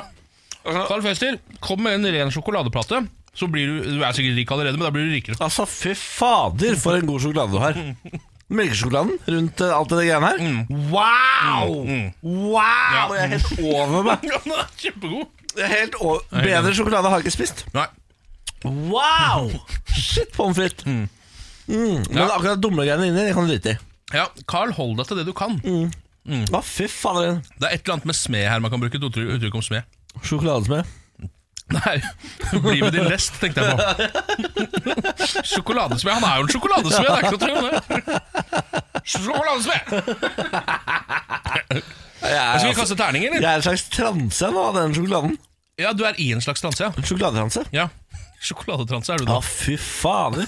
[SPEAKER 2] Carl Fester, kom med en ren sjokoladeplate. Så blir du, du er sikkert rik allerede, men da blir du rikere.
[SPEAKER 1] Altså, fy fader, for en god sjokolade du har. Melkesjokoladen rundt eh, alt det der greiene her. Wow!
[SPEAKER 2] Mm,
[SPEAKER 1] Wow! Jeg er helt over meg.
[SPEAKER 2] Ja, den er kjempegod.
[SPEAKER 1] Jeg er helt over. Bedre sjokolade har jeg ikke spist.
[SPEAKER 2] Nei.
[SPEAKER 1] Wow! Shit, pommes frites. Mm. Men
[SPEAKER 2] Ja.
[SPEAKER 1] akkurat dumme greiene inni, det kan du drite i.
[SPEAKER 2] Ja, Carl, hold deg til det du kan.
[SPEAKER 1] Å, fy fader.
[SPEAKER 2] Det er et eller annet med smed her man kan bruke et uttrykk, uttrykk om smed.
[SPEAKER 1] Sjokoladesmed.
[SPEAKER 2] Nei, bli med din lest, tenkte jeg på. Sjokoladesmed. Han er jo en sjokoladesmed, det er ikke noe tvil om det. Sjokoladesmed!
[SPEAKER 1] Jeg er,
[SPEAKER 2] Skal vi
[SPEAKER 1] altså,
[SPEAKER 2] kaste terning,
[SPEAKER 1] jeg
[SPEAKER 2] eller?
[SPEAKER 1] er en slags transe nå, av den sjokoladen.
[SPEAKER 2] Ja, du er i en slags transe, ja.
[SPEAKER 1] Sjokoladetranse.
[SPEAKER 2] ja. Sjokoladetranse er du
[SPEAKER 1] Ja,
[SPEAKER 2] da.
[SPEAKER 1] fy fader.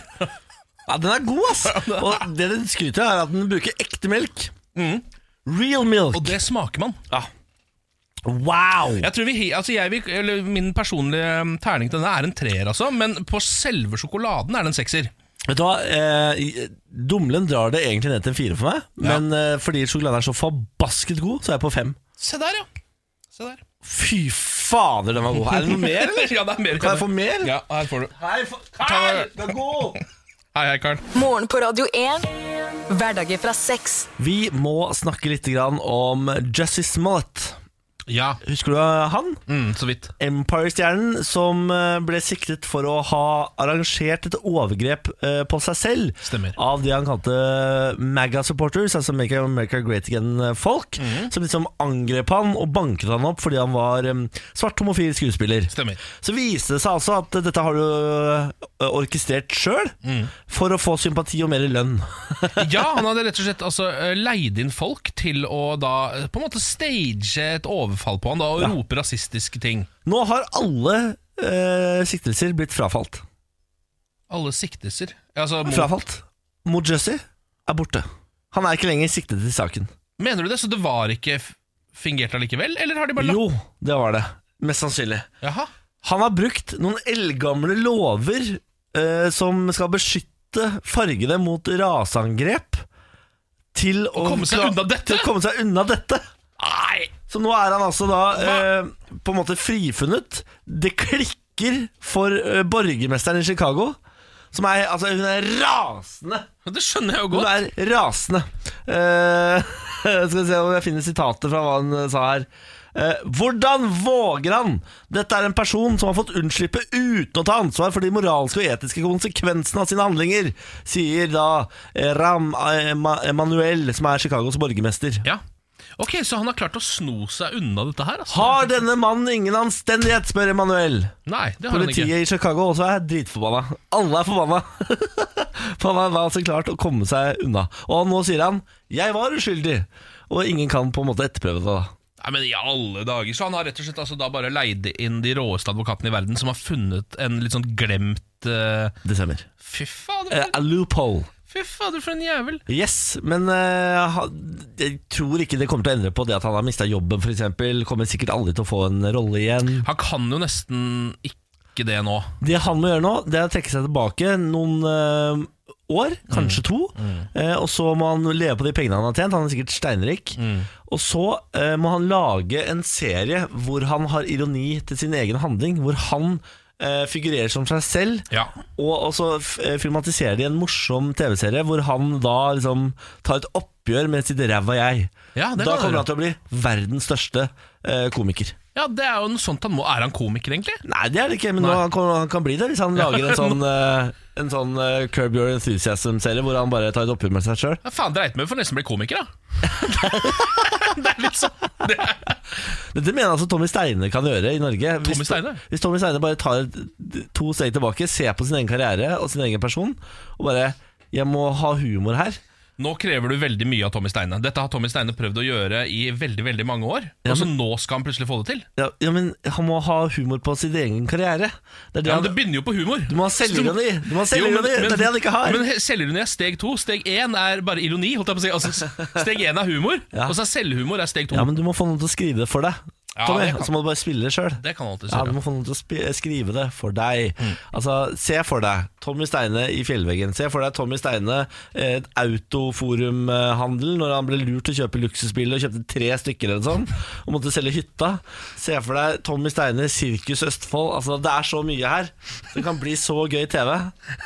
[SPEAKER 1] Ja, den er god, ass. Og det den skryter av, er at den bruker ekte melk. Real milk.
[SPEAKER 2] Og det smaker man.
[SPEAKER 1] Ja. Wow.
[SPEAKER 2] Jeg tror vi, hi- altså jeg vil, eller Min personlige um, terning til denne er en treer, altså, men på selve sjokoladen er det en sekser.
[SPEAKER 1] Vet du hva, eh, Dumlen drar det egentlig ned til en fire for meg,
[SPEAKER 2] Ja.
[SPEAKER 1] men eh, fordi sjokoladen er så forbasket god, så er jeg på fem.
[SPEAKER 2] Se der, ja. Se der.
[SPEAKER 1] Fy fader, den var god. Er det noe mer, eller?
[SPEAKER 2] Ja, det er mer.
[SPEAKER 1] Kan jeg få mer?
[SPEAKER 2] Ja, her får du.
[SPEAKER 1] Hei, for... Karl, den er god!
[SPEAKER 2] Hei, hei, Karl.
[SPEAKER 3] Morgen på Radio 1. Hverdager fra seks.
[SPEAKER 1] Vi må snakke litt grann om Jussie Smollett.
[SPEAKER 2] Ja,
[SPEAKER 1] Husker du eh, han?
[SPEAKER 2] mm, så vidt.
[SPEAKER 1] Empire-stjernen som eh, ble siktet for å ha arrangert et overgrep eh, på seg selv
[SPEAKER 2] Stemmer.
[SPEAKER 1] av det han kalte eh, MAGA-supporters, altså Make America Great Again-folk,
[SPEAKER 2] Mhm.
[SPEAKER 1] som liksom angrep han og banket han opp fordi han var eh, svart homofil skuespiller.
[SPEAKER 2] Stemmer.
[SPEAKER 1] Så viste det seg altså at dette har du eh, orkestrert sjøl
[SPEAKER 2] Mhm.
[SPEAKER 1] for å få sympati og mer lønn.
[SPEAKER 2] Ja, han hadde rett og slett altså, eh, leid inn folk til å da eh, på en måte stage et overfall på han da, og rope rasistiske ting.
[SPEAKER 1] Nå har alle eh, siktelser blitt frafalt.
[SPEAKER 2] Alle siktelser. Altså, mot-
[SPEAKER 1] Frafalt. Mot Jussie er borte. Han er ikke lenger siktet i saken.
[SPEAKER 2] mener du det? Så det var ikke f- fingert allikevel? Eller har de bare lagt
[SPEAKER 1] Jo, det var det. Mest sannsynlig.
[SPEAKER 2] Jaha.
[SPEAKER 1] Han har brukt noen eldgamle lover eh, som skal beskytte fargede mot raseangrep, til å,
[SPEAKER 2] komme seg
[SPEAKER 1] kla-
[SPEAKER 2] unna dette?
[SPEAKER 1] Til å komme seg unna dette.
[SPEAKER 2] Nei!
[SPEAKER 1] Så nå er han altså da eh, på en måte frifunnet. Det klikker for eh, borgermesteren i Chicago, som er Altså, hun er rasende!
[SPEAKER 2] Det skjønner jeg jo
[SPEAKER 1] Hun
[SPEAKER 2] godt.
[SPEAKER 1] er rasende. Eh, skal vi se om jeg finner sitatet fra hva han eh, sa her. Eh, hvordan våger han? Dette er en person som har fått unnslippe uten å ta ansvar for de moralske og etiske konsekvensene av sine handlinger, sier da eh, Ram eh, Ma- Emanuel, som er Chicagos borgermester.
[SPEAKER 2] Ja. Ok, så han har klart å sno seg unna dette her? Altså.
[SPEAKER 1] Har denne mannen ingen anstendighet, spør Emanuel.
[SPEAKER 2] Nei, det har han ikke.
[SPEAKER 1] Politiet i Chicago også er dritforbanna. Alle er forbanna. For han har altså klart å komme seg unna. Og nå sier han 'jeg var uskyldig', og ingen kan på en måte etterprøve det. da
[SPEAKER 2] Nei, men i alle dager Så han har rett og slett altså, da bare leid inn de råeste advokatene i verden, som har funnet en litt sånn glemt eh,
[SPEAKER 1] Det stemmer.
[SPEAKER 2] Fy fader,
[SPEAKER 1] Eh,
[SPEAKER 2] for-
[SPEAKER 1] a loophole.
[SPEAKER 2] fy fader, for en jævel!
[SPEAKER 1] Yes, men eh, ha- jeg tror ikke det kommer til å endre på det at han har mista jobben, f.eks. Kommer sikkert aldri til å få en rolle igjen.
[SPEAKER 2] Han kan jo nesten ikke ikke det nå.
[SPEAKER 1] Det han må gjøre nå, det er å trekke seg tilbake noen eh, år,
[SPEAKER 2] Mm.
[SPEAKER 1] kanskje to. eh, og så må han leve på de pengene han har tjent. Han er sikkert steinrik.
[SPEAKER 2] Mm.
[SPEAKER 1] Og så eh, må han lage en serie hvor han har ironi til sin egen handling. Hvor han eh, figurerer som seg selv.
[SPEAKER 2] Ja.
[SPEAKER 1] Og, og så f- eh, filmatiserer de en morsom TV-serie hvor han da liksom tar et oppgjør med sitt ræva jeg.
[SPEAKER 2] Ja, det
[SPEAKER 1] da
[SPEAKER 2] kan
[SPEAKER 1] kommer
[SPEAKER 2] han
[SPEAKER 1] han til å bli verdens største eh, komiker.
[SPEAKER 2] Ja, det er jo en sånt han må Er han komiker, egentlig?
[SPEAKER 1] Nei, det er det ikke, men nå,
[SPEAKER 2] Nei.
[SPEAKER 1] han, kan, han kan bli det hvis han lager en sånn, eh, en sånn eh, Curb Your Enthusiasm-serie hvor han bare tar et oppgjør med seg sjøl.
[SPEAKER 2] Ja, faen, dreit meg for å nesten bli komiker, da. det er litt sånn det er,
[SPEAKER 1] Dette mener altså Tommy Steine kan gjøre i Norge.
[SPEAKER 2] Tommy Steine?
[SPEAKER 1] hvis Tommy Steine bare tar et- to steg tilbake, ser på sin egen karriere og sin egen person og bare Jeg må ha humor her.
[SPEAKER 2] Nå krever du veldig mye av Tommy Steine. Dette har Tommy Steine prøvd å gjøre i veldig veldig mange år. Og så nå skal han plutselig få det til.
[SPEAKER 1] Ja, ja, men han må ha humor på sin egen karriere. Det er det
[SPEAKER 2] Ja,
[SPEAKER 1] han,
[SPEAKER 2] men Det begynner jo på humor.
[SPEAKER 1] du må ha selvironi! Du må ha selvironi! Det er det han ikke har.
[SPEAKER 2] Men he- selvironi er steg to. Steg én er bare ironi. holdt jeg på å si altså, s- Steg én er humor,
[SPEAKER 1] Ja.
[SPEAKER 2] og så er selvhumor er steg to.
[SPEAKER 1] ja, men du må få noen til å skrive det for deg.
[SPEAKER 2] Ja,
[SPEAKER 1] Tommy,
[SPEAKER 2] det kan-
[SPEAKER 1] så må du bare spille det sjøl.
[SPEAKER 2] Det kan alltid
[SPEAKER 1] Ja,
[SPEAKER 2] gjøre.
[SPEAKER 1] du må få noen til å spi- skrive det for deg. Altså, Se for deg Tommy Steine i Fjellveggen. Se for deg Tommy Steine eh, et autoforumhandel når han ble lurt til å kjøpe luksusbiler og kjøpte tre stykker eller sånn, og måtte selge hytta. Se for deg Tommy Steine Sirkus Østfold. Altså, Det er så mye her. Det kan bli så gøy TV.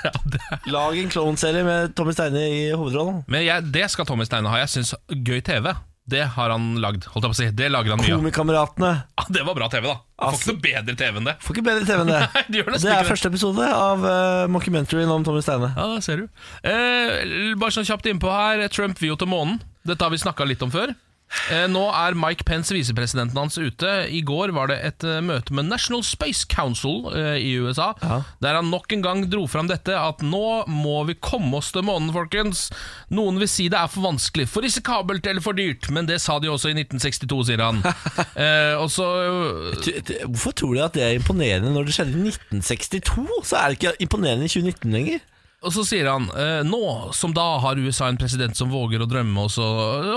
[SPEAKER 2] Ja, det er-
[SPEAKER 1] Lag en klovnserie med Tommy Steine i hovedrollen.
[SPEAKER 2] Men jeg, det skal Tommy Steine ha. Jeg syns gøy TV, det har han lagd. holdt jeg på å si Det lager han mye av.
[SPEAKER 1] Komikameratene.
[SPEAKER 2] Ja, det var bra TV, da. Du får
[SPEAKER 1] Altså-
[SPEAKER 2] ikke noe bedre TV enn det.
[SPEAKER 1] Får ikke bedre TV enn det.
[SPEAKER 2] Nei, det gjør
[SPEAKER 1] Og
[SPEAKER 2] nesten
[SPEAKER 1] det
[SPEAKER 2] ikke
[SPEAKER 1] er
[SPEAKER 2] det.
[SPEAKER 1] første episode av uh, mockumentaryen om Tommy Steine.
[SPEAKER 2] Ja, det ser du. Eh, bare sånn kjapt innpå her. Trump vil jo til månen. Dette har vi snakka litt om før. Eh, nå er Mike Pence, visepresidenten hans, ute. I går var det et eh, møte med National Space Council eh, i USA,
[SPEAKER 1] Ja.
[SPEAKER 2] der han nok en gang dro fram dette at nå må vi komme oss til månen, folkens. Noen vil si det er for vanskelig, for risikabelt eller for dyrt, men det sa de jo også i 1962, sier han. eh, og så
[SPEAKER 1] Ty- ty- Hvorfor tror du at det er imponerende når det skjedde i 1962? Så er det ikke imponerende i 2019 lenger.
[SPEAKER 2] Og så sier han eh, Nå som da har USA en president som våger å drømme, og så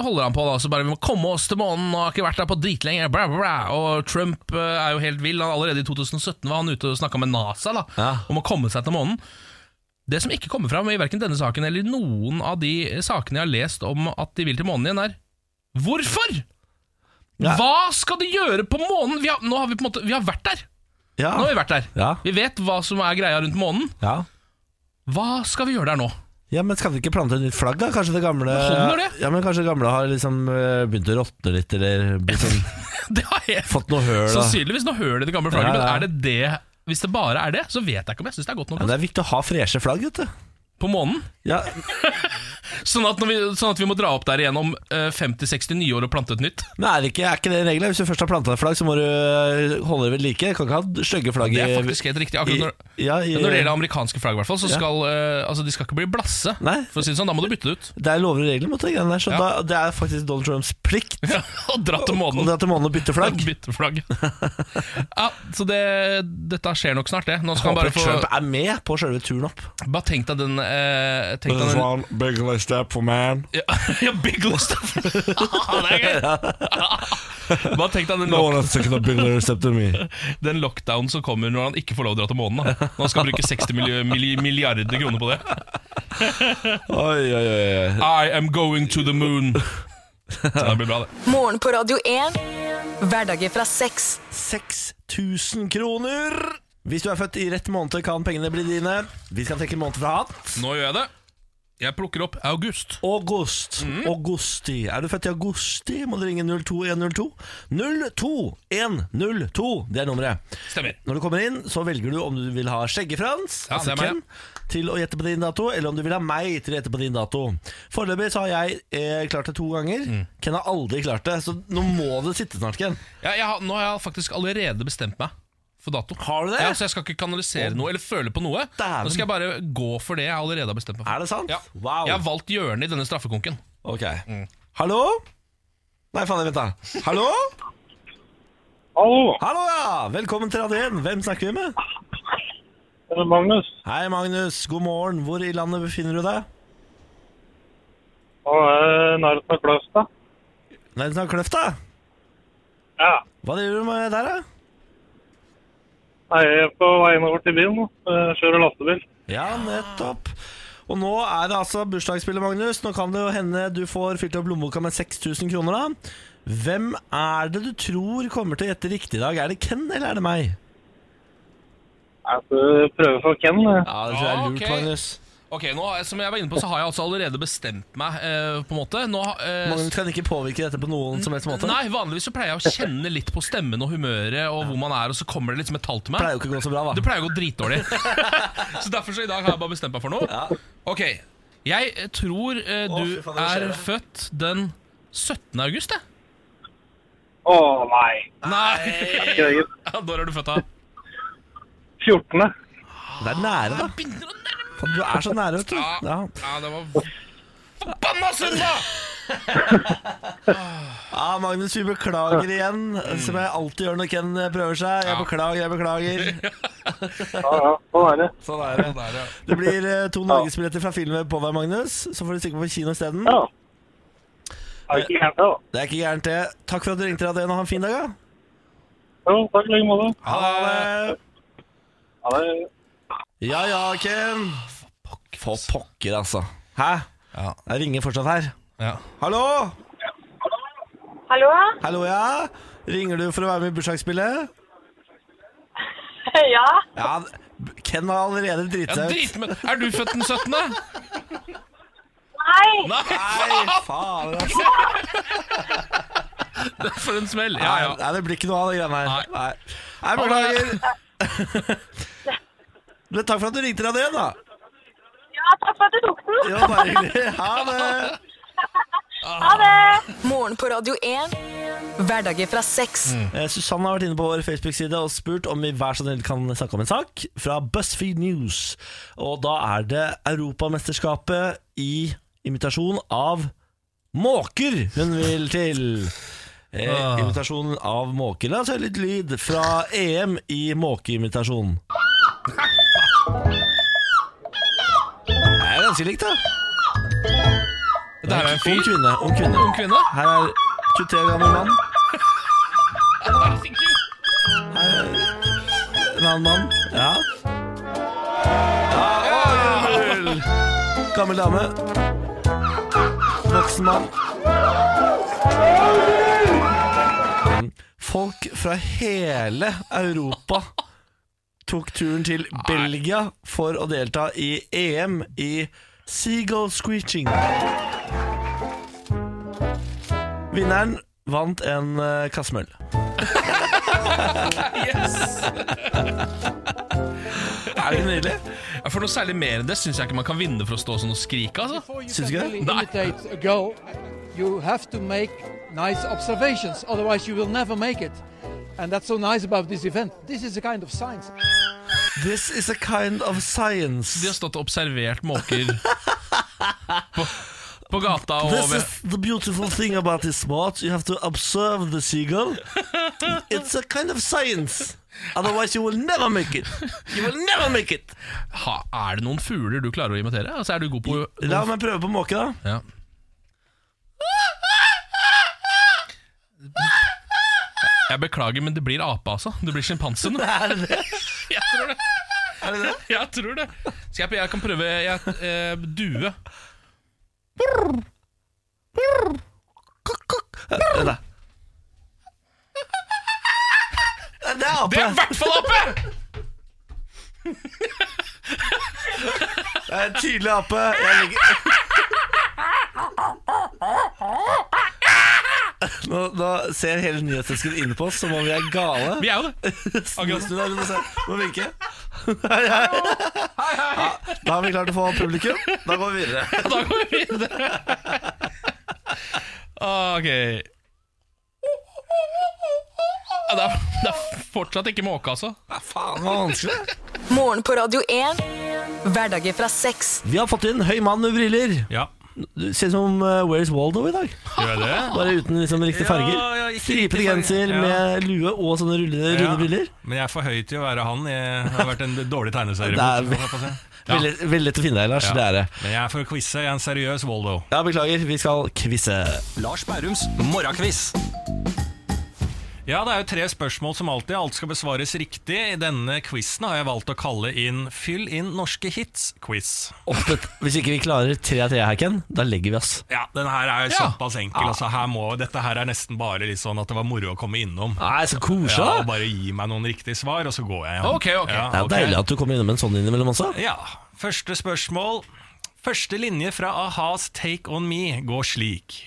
[SPEAKER 2] holder han på da, så bare vi må komme oss til månen, og har ikke vært der på dritlenge, bla, bla, bla. Og Trump eh, er jo helt vill. Han, allerede i 2017 var han ute og snakka med NASA da,
[SPEAKER 1] Ja.
[SPEAKER 2] om å komme seg til månen. Det som ikke kommer fram i verken denne saken eller noen av de sakene jeg har lest om at de vil til månen igjen, er hvorfor?
[SPEAKER 1] Ja.
[SPEAKER 2] Hva skal de gjøre på månen? Vi har, nå har vi på en måte Vi har vært der.
[SPEAKER 1] Ja.
[SPEAKER 2] Nå har vi vært der.
[SPEAKER 1] Ja.
[SPEAKER 2] Vi vet hva som er greia rundt månen.
[SPEAKER 1] ja.
[SPEAKER 2] Hva skal vi gjøre der nå?
[SPEAKER 1] ja, men skal vi ikke plante et nytt flagg, da? Kanskje det gamle
[SPEAKER 2] holder det.
[SPEAKER 1] Ja, men kanskje det gamle har liksom eh, begynt å råtne litt, eller blitt sånn,
[SPEAKER 2] Det har jeg
[SPEAKER 1] fått noe høl. da.
[SPEAKER 2] Sannsynligvis noe høl i det gamle
[SPEAKER 1] Ja,
[SPEAKER 2] flagget,
[SPEAKER 1] ja.
[SPEAKER 2] men er det det Hvis det bare er det, så vet jeg ikke om jeg syns det er godt nok.
[SPEAKER 1] Ja, det er viktig å ha freshe flagg, vet du.
[SPEAKER 2] altså. På månen.
[SPEAKER 1] Ja,
[SPEAKER 2] Sånn at, når vi, sånn at vi må dra opp der igjen om eh, 50-60 nye år og plante et nytt.
[SPEAKER 1] men er det ikke, er ikke det regelen? Hvis du først har planta et flagg, så må du eh, holde det ved like. Du kan ikke ha stygge flagg
[SPEAKER 2] Det er
[SPEAKER 1] i-
[SPEAKER 2] faktisk helt riktig. Akkurat når,
[SPEAKER 1] i- ja, i-
[SPEAKER 2] når det gjelder amerikanske flagg, i hvert fall, så skal eh, altså, de skal ikke bli blasse.
[SPEAKER 1] Nei.
[SPEAKER 2] For å si det sånn, Da må du bytte det ut.
[SPEAKER 1] Det er lover og regler mot det greiene der, så
[SPEAKER 2] Ja.
[SPEAKER 1] da, det er faktisk Donald Trumps plikt
[SPEAKER 2] Ja, og dra til
[SPEAKER 1] å
[SPEAKER 2] månen.
[SPEAKER 1] dra til månen og bytte flagg.
[SPEAKER 2] Bytte flagg. ja, så det, dette skjer nok snart, det. Nå skal han
[SPEAKER 1] Håper
[SPEAKER 2] bare få
[SPEAKER 1] Trump er med på selve turen opp.
[SPEAKER 2] Bare tenk deg den, eh, tenk deg
[SPEAKER 5] This is
[SPEAKER 2] den
[SPEAKER 5] one big list up for man.
[SPEAKER 2] Ja, ja Big Lost Det er gøy Bare tenk deg den,
[SPEAKER 5] No one
[SPEAKER 2] lock
[SPEAKER 5] has taken a big list up to me.
[SPEAKER 2] den lockdown som kommer når han ikke får lov å dra til månen da. Når han skal bruke 60 milli milli- milliarder kroner på det
[SPEAKER 1] Oi, oi, oi, oi.
[SPEAKER 2] I am going to the moon Så Det blir bra det
[SPEAKER 3] Morgen på Radio 1. Hverdager fra seks.
[SPEAKER 1] 6000 kroner. Hvis du er født i rett måned, kan pengene bli dine. Vi skal trekke en måned fra hatt.
[SPEAKER 2] Nå gjør jeg det Jeg plukker opp august
[SPEAKER 1] August.
[SPEAKER 2] Mhm.
[SPEAKER 1] Augusti. Er du født i augusti, må du ringe 02102. 02102, det er nummeret.
[SPEAKER 2] Stemmer
[SPEAKER 1] Når du kommer inn, så velger du om du vil ha Skjeggefrans
[SPEAKER 2] Ja,
[SPEAKER 1] altså
[SPEAKER 2] det er meg.
[SPEAKER 1] Ken, til å gjette på din dato, eller om du vil ha meg til å gjette på din dato. Foreløpig så har jeg eh, klart det to ganger.
[SPEAKER 2] Mm.
[SPEAKER 1] Ken har aldri klart det, så nå må det sitte snart, Ken.
[SPEAKER 2] ja, jeg, har- Nå har jeg faktisk allerede bestemt meg for dato
[SPEAKER 1] Har du det?
[SPEAKER 2] Ja, så jeg skal ikke kanalisere noe eller føle på noe
[SPEAKER 1] Dæven.
[SPEAKER 2] Nå skal jeg bare gå for det jeg allerede har bestemt meg for
[SPEAKER 1] Er det sant?
[SPEAKER 2] Ja. Mm.
[SPEAKER 1] Wow.
[SPEAKER 2] Jeg har valgt hjørnet i denne straffekonken
[SPEAKER 1] Ok. Hallo? Nei, faen, vent da. Hallo?
[SPEAKER 6] Hallo,
[SPEAKER 1] Hallo, ja! Velkommen til Radio 1. Hvem snakker vi med?
[SPEAKER 6] er det Magnus?
[SPEAKER 1] Hei, Magnus. God morgen. Hvor i landet befinner du deg?
[SPEAKER 6] Han er nærheten av Kløfta.
[SPEAKER 1] Nærheten av Kløfta.
[SPEAKER 6] Ja.
[SPEAKER 1] Hva driver du med der, da?
[SPEAKER 6] Jeg er på veien over til byen nå. Eh, Kjører lastebil.
[SPEAKER 1] Ja, nettopp. Og nå er det altså bursdagsspillet, Magnus. Nå kan det jo hende du får fylt opp lommeboka med 6000 kroner, da. Hvem er det du tror kommer til å gjette riktig i dag? Er det Ken, eller er det meg?
[SPEAKER 6] Jeg får prøve for eh? Ken. jeg.
[SPEAKER 1] Ja, det tror jeg er
[SPEAKER 2] Ja,
[SPEAKER 1] lurt,
[SPEAKER 2] ok.
[SPEAKER 1] Magnus.
[SPEAKER 2] Ok, nå, Som jeg var inne på, så har jeg altså allerede bestemt meg. eh, på en måte Nå, eh,
[SPEAKER 1] Magnus kan ikke påvirke dette på noen som helst måte.
[SPEAKER 2] Nei, Vanligvis så pleier jeg å kjenne litt på stemmen og humøret, og hvor man er, og så kommer det liksom et tall til meg.
[SPEAKER 1] Pleier jo ikke å gå så bra,
[SPEAKER 2] Det
[SPEAKER 1] da.
[SPEAKER 2] pleier å gå dritdårlig. så derfor så i dag har jeg bare bestemt meg for noe. Ok, jeg tror eh,
[SPEAKER 1] Å,
[SPEAKER 2] du
[SPEAKER 1] fy faen, det
[SPEAKER 2] er
[SPEAKER 1] skjer.
[SPEAKER 2] født den 17. august, jeg.
[SPEAKER 6] Å nei.
[SPEAKER 2] Nei!
[SPEAKER 6] Ikke det, gitt.
[SPEAKER 2] Ja, Når er du født, da?
[SPEAKER 6] 14.
[SPEAKER 1] Det er nære, da.
[SPEAKER 2] Begynner å nærme
[SPEAKER 1] Faen, Du er så nære, vet
[SPEAKER 2] Ja.
[SPEAKER 1] du. Ja.
[SPEAKER 2] Ja, det var Forbanna søndag!
[SPEAKER 1] ja, Magnus, vi beklager igjen, som jeg alltid gjør når Ken eh, prøver seg. Jeg
[SPEAKER 2] Ja.
[SPEAKER 1] beklager, jeg beklager.
[SPEAKER 6] Ja, ja. Sånn er det.
[SPEAKER 1] Sånn er det.
[SPEAKER 2] Der, ja.
[SPEAKER 1] Det blir eh, to norgesbilletter fra filmen på deg, Magnus. Så får du stikke på kino isteden.
[SPEAKER 6] Ja. Det er ikke gærent, det, da.
[SPEAKER 1] Det er ikke gærent, det. Takk for at du ringte, Adrian, og ha en fin dag. da.
[SPEAKER 6] Jo, takk i like måte.
[SPEAKER 1] Ha det.
[SPEAKER 6] Ha det.
[SPEAKER 1] Ja ja, Ken. For pokker, altså. Hæ?
[SPEAKER 2] Ja.
[SPEAKER 1] Jeg ringer fortsatt her.
[SPEAKER 2] Ja.
[SPEAKER 1] Hallo?
[SPEAKER 7] Hallo?
[SPEAKER 1] Hallo, ja? Ringer du for å være med i bursdagsspillet?
[SPEAKER 7] Ja,
[SPEAKER 1] Ja, Ken har allerede driti
[SPEAKER 2] Ja,
[SPEAKER 1] seg ut.
[SPEAKER 2] drit med Er du født den 17.?
[SPEAKER 7] nei.
[SPEAKER 2] Nei,
[SPEAKER 1] Nei, faen, altså.
[SPEAKER 2] for en smell. Ja,
[SPEAKER 1] Nei,
[SPEAKER 2] ja.
[SPEAKER 1] nei, det blir ikke noe av de greiene her. Nei, Nei beklager. Men takk for at du ringte, Adrian, da.
[SPEAKER 7] Ja, takk for at du tok den.
[SPEAKER 1] Ja, bare hyggelig. Ha det.
[SPEAKER 7] Ha det.
[SPEAKER 3] Morgen på Radio 1. Hverdager fra seks.
[SPEAKER 1] Eh, Susanne har vært inne på vår Facebook-side og spurt om vi hver så snill kan snakke om en sak fra BuzzFeed News. Og da er det Europamesterskapet i imitasjon av måker hun vil til. Eh,
[SPEAKER 2] Ah.
[SPEAKER 1] imitasjon av måker. La oss høre litt lyd fra EM i måkeimitasjon. Det er ganske likt, da.
[SPEAKER 2] Det her er en
[SPEAKER 1] Ung
[SPEAKER 2] fyr.
[SPEAKER 1] kvinne. Ung kvinne.
[SPEAKER 2] Ung kvinne.
[SPEAKER 1] Her er 23 år gammel mann. En annen mann. Ja. ja gammel. gammel dame. Voksen mann. Folk fra hele Europa tok turen til Belgia for å delta i EM i seagull screeching. Vinneren vant en eh, kasse med øl. Er det ikke nydelig?
[SPEAKER 2] Ja, For noe særlig mer enn det syns jeg ikke man kan vinne for å stå sånn og skrike. altså
[SPEAKER 1] Syns ikke det?
[SPEAKER 8] imitate a goal, you have to make nice observations, otherwise you will never make it. And that's so nice about this event. This is a kind of science.
[SPEAKER 1] This is a kind of
[SPEAKER 2] De har
[SPEAKER 1] science.
[SPEAKER 2] stått og observert måker på, på gata og
[SPEAKER 1] This
[SPEAKER 2] over
[SPEAKER 1] is the beautiful thing about this sport. You have to observe the seagull. It's a kind of science. Otherwise you will never make it. You will never make it.
[SPEAKER 2] ha, Er det noen fugler du klarer å imitere? Altså, er du god på
[SPEAKER 1] La meg prøve på måke, da.
[SPEAKER 2] ja. Jeg beklager, men det blir ape, altså. Du blir sjimpanse nå.
[SPEAKER 1] Er det det?
[SPEAKER 2] Jeg tror det. Jeg tror det. Skal jeg, jeg kan prøve jeg, eh, due.
[SPEAKER 1] Kokk, kokk. Vent, da. Det er
[SPEAKER 2] Det er i
[SPEAKER 1] ape.
[SPEAKER 2] hvert fall ape!
[SPEAKER 1] Det er en tydelig ape. Jeg ligger... Nå, nå ser hele nyhetsdesken inne på oss som om vi er gale.
[SPEAKER 2] Vi er jo det.
[SPEAKER 1] Snu snu deg rundt og se. Må vinke. Hei, hei. Ja, da har vi klart å få publikum. Da går vi videre.
[SPEAKER 2] Da går vi videre.
[SPEAKER 9] Ah,
[SPEAKER 2] Ok. Ja, Det er, det er fortsatt ikke måke, altså.
[SPEAKER 1] Faen, det var vanskelig.
[SPEAKER 3] Morgen på Radio 1. Hverdager fra seks.
[SPEAKER 1] Vi har fått inn høy mann med briller.
[SPEAKER 2] Ja,
[SPEAKER 1] Du ser ut som eh, Where's Waldo i dag.
[SPEAKER 2] gjør det?
[SPEAKER 1] Bare uten liksom riktige farger.
[SPEAKER 9] Ja, ja, ikke
[SPEAKER 1] Stripete
[SPEAKER 9] riktig farge.
[SPEAKER 1] genser
[SPEAKER 9] Ja.
[SPEAKER 1] med lue og sånne rulle, runde
[SPEAKER 9] Ja.
[SPEAKER 1] briller.
[SPEAKER 9] Men jeg er for høy til å være han. Jeg har vært en dårlig tegneserie.
[SPEAKER 1] Det er-
[SPEAKER 9] bortsett fra det, får jeg si.
[SPEAKER 1] Veldig, veldig lett å finne deg, Lars.
[SPEAKER 9] Ja.
[SPEAKER 1] Det er det.
[SPEAKER 9] Men jeg er for å quize. Jeg er en seriøs Waldo.
[SPEAKER 1] Ja, beklager. Vi skal quize.
[SPEAKER 9] Lars Bærums morgenquiz. Ja, det er jo tre spørsmål som alltid. Alt skal besvares riktig. I denne quizen har jeg valgt å kalle inn Fyll inn norske hits-quiz.
[SPEAKER 1] Oppet. Hvis ikke vi klarer tre av tre her, Ken, da legger vi oss.
[SPEAKER 9] Ja, den her er
[SPEAKER 2] Ja. Ah.
[SPEAKER 9] såpass enkel. Altså, her må, dette her er nesten bare litt sånn at det var moro å komme innom.
[SPEAKER 1] Nei, så koselig!
[SPEAKER 9] Ja,
[SPEAKER 1] da.
[SPEAKER 9] bare gi meg noen riktige svar, og så går jeg.
[SPEAKER 2] Ok, ok.
[SPEAKER 1] det er jo deilig at du kommer innom en sånn innimellom også.
[SPEAKER 9] Ja, første spørsmål. Første linje fra Ahas Take On Me går slik.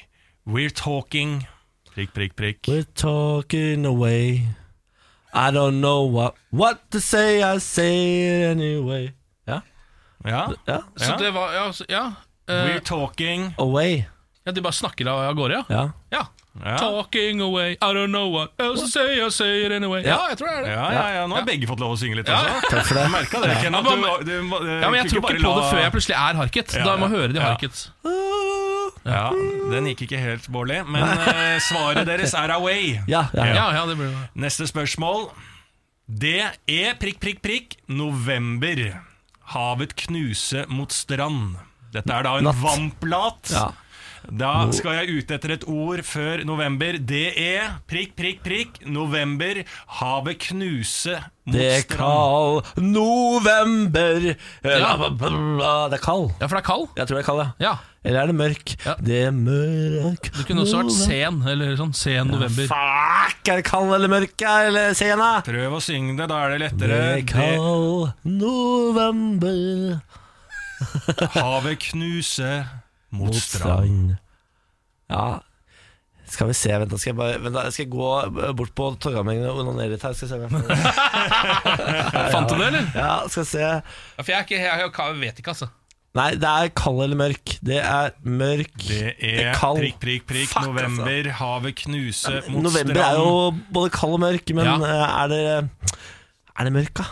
[SPEAKER 9] We're talking Prikk, prikk, prikk.
[SPEAKER 1] We're talking away. I don't know what, what to say, I say it anyway. Ja,
[SPEAKER 9] Ja,
[SPEAKER 1] ja.
[SPEAKER 2] Så
[SPEAKER 9] Ja.
[SPEAKER 2] det var Ja. Så, ja. Eh,
[SPEAKER 9] We're talking
[SPEAKER 1] Away.
[SPEAKER 2] ja de bare snakker av av gårde, ja.
[SPEAKER 1] Ja.
[SPEAKER 2] ja.
[SPEAKER 9] Ja,
[SPEAKER 2] Talking away, I don't know what else to say, I say it anyway. Ja, jeg tror det er det.
[SPEAKER 9] ja, ja, ja. Nå har begge fått lov å synge litt også.
[SPEAKER 1] Takk for det.
[SPEAKER 9] Jeg merket det, Ken, at
[SPEAKER 2] Ja,
[SPEAKER 9] du,
[SPEAKER 2] men-
[SPEAKER 9] du, må- du
[SPEAKER 2] Ja, men Jeg
[SPEAKER 9] kunne
[SPEAKER 2] tror ikke
[SPEAKER 9] bare
[SPEAKER 2] på
[SPEAKER 9] la-
[SPEAKER 2] det før jeg plutselig er harket. Da jeg må høre de
[SPEAKER 9] Ja.
[SPEAKER 2] harket.
[SPEAKER 9] Ja, Den gikk ikke helt, Bårdli. Men eh, svaret deres er away.
[SPEAKER 1] Ja, ja, ja.
[SPEAKER 2] Ja, ja, det blir det.
[SPEAKER 9] Neste spørsmål. Det er prikk, prikk, prikk november. Havet knuse mot strand. Dette er da en
[SPEAKER 1] Natt.
[SPEAKER 9] vannplat.
[SPEAKER 1] Ja.
[SPEAKER 9] Da skal jeg ute etter et ord før november. Det er prikk, prikk, prikk november. Havet knuse mot
[SPEAKER 1] Det er
[SPEAKER 9] strand.
[SPEAKER 1] kald november ja. Det er kald.
[SPEAKER 2] Ja, for det er kald?
[SPEAKER 1] Jeg tror det er kald, ja.
[SPEAKER 2] Ja.
[SPEAKER 1] Eller er det mørk?
[SPEAKER 2] Ja.
[SPEAKER 1] Det er mørk
[SPEAKER 2] Du kunne også vært sen, eller sånn sen november.
[SPEAKER 1] Fuck, er det kald eller mørk, ja, eller sena?
[SPEAKER 9] Prøv å synge det, da er det
[SPEAKER 1] Det
[SPEAKER 9] lettere.
[SPEAKER 1] er kald november
[SPEAKER 9] Det- Havet knuse mot
[SPEAKER 1] mot
[SPEAKER 9] strand.
[SPEAKER 1] strand. Ja skal vi se, vent da skal jeg bare vent da, Jeg skal gå eh, bort på torgamengene og onanere litt her Skal jeg se om jeg får-
[SPEAKER 2] Fant du det, eller?
[SPEAKER 1] Ja, skal jeg se
[SPEAKER 2] Ja, for jeg, er ikke, jeg, jeg, jeg vet ikke, altså.
[SPEAKER 1] Nei, det er kald eller mørk Det er mørk
[SPEAKER 9] Det er
[SPEAKER 1] kald.
[SPEAKER 9] prikk, prikk, prikk
[SPEAKER 1] Fuck, altså.
[SPEAKER 9] november. Havet knuse mot strand.
[SPEAKER 1] November er jo både kald og mørk, men
[SPEAKER 2] Ja.
[SPEAKER 1] eh, er det Er det mørk, da?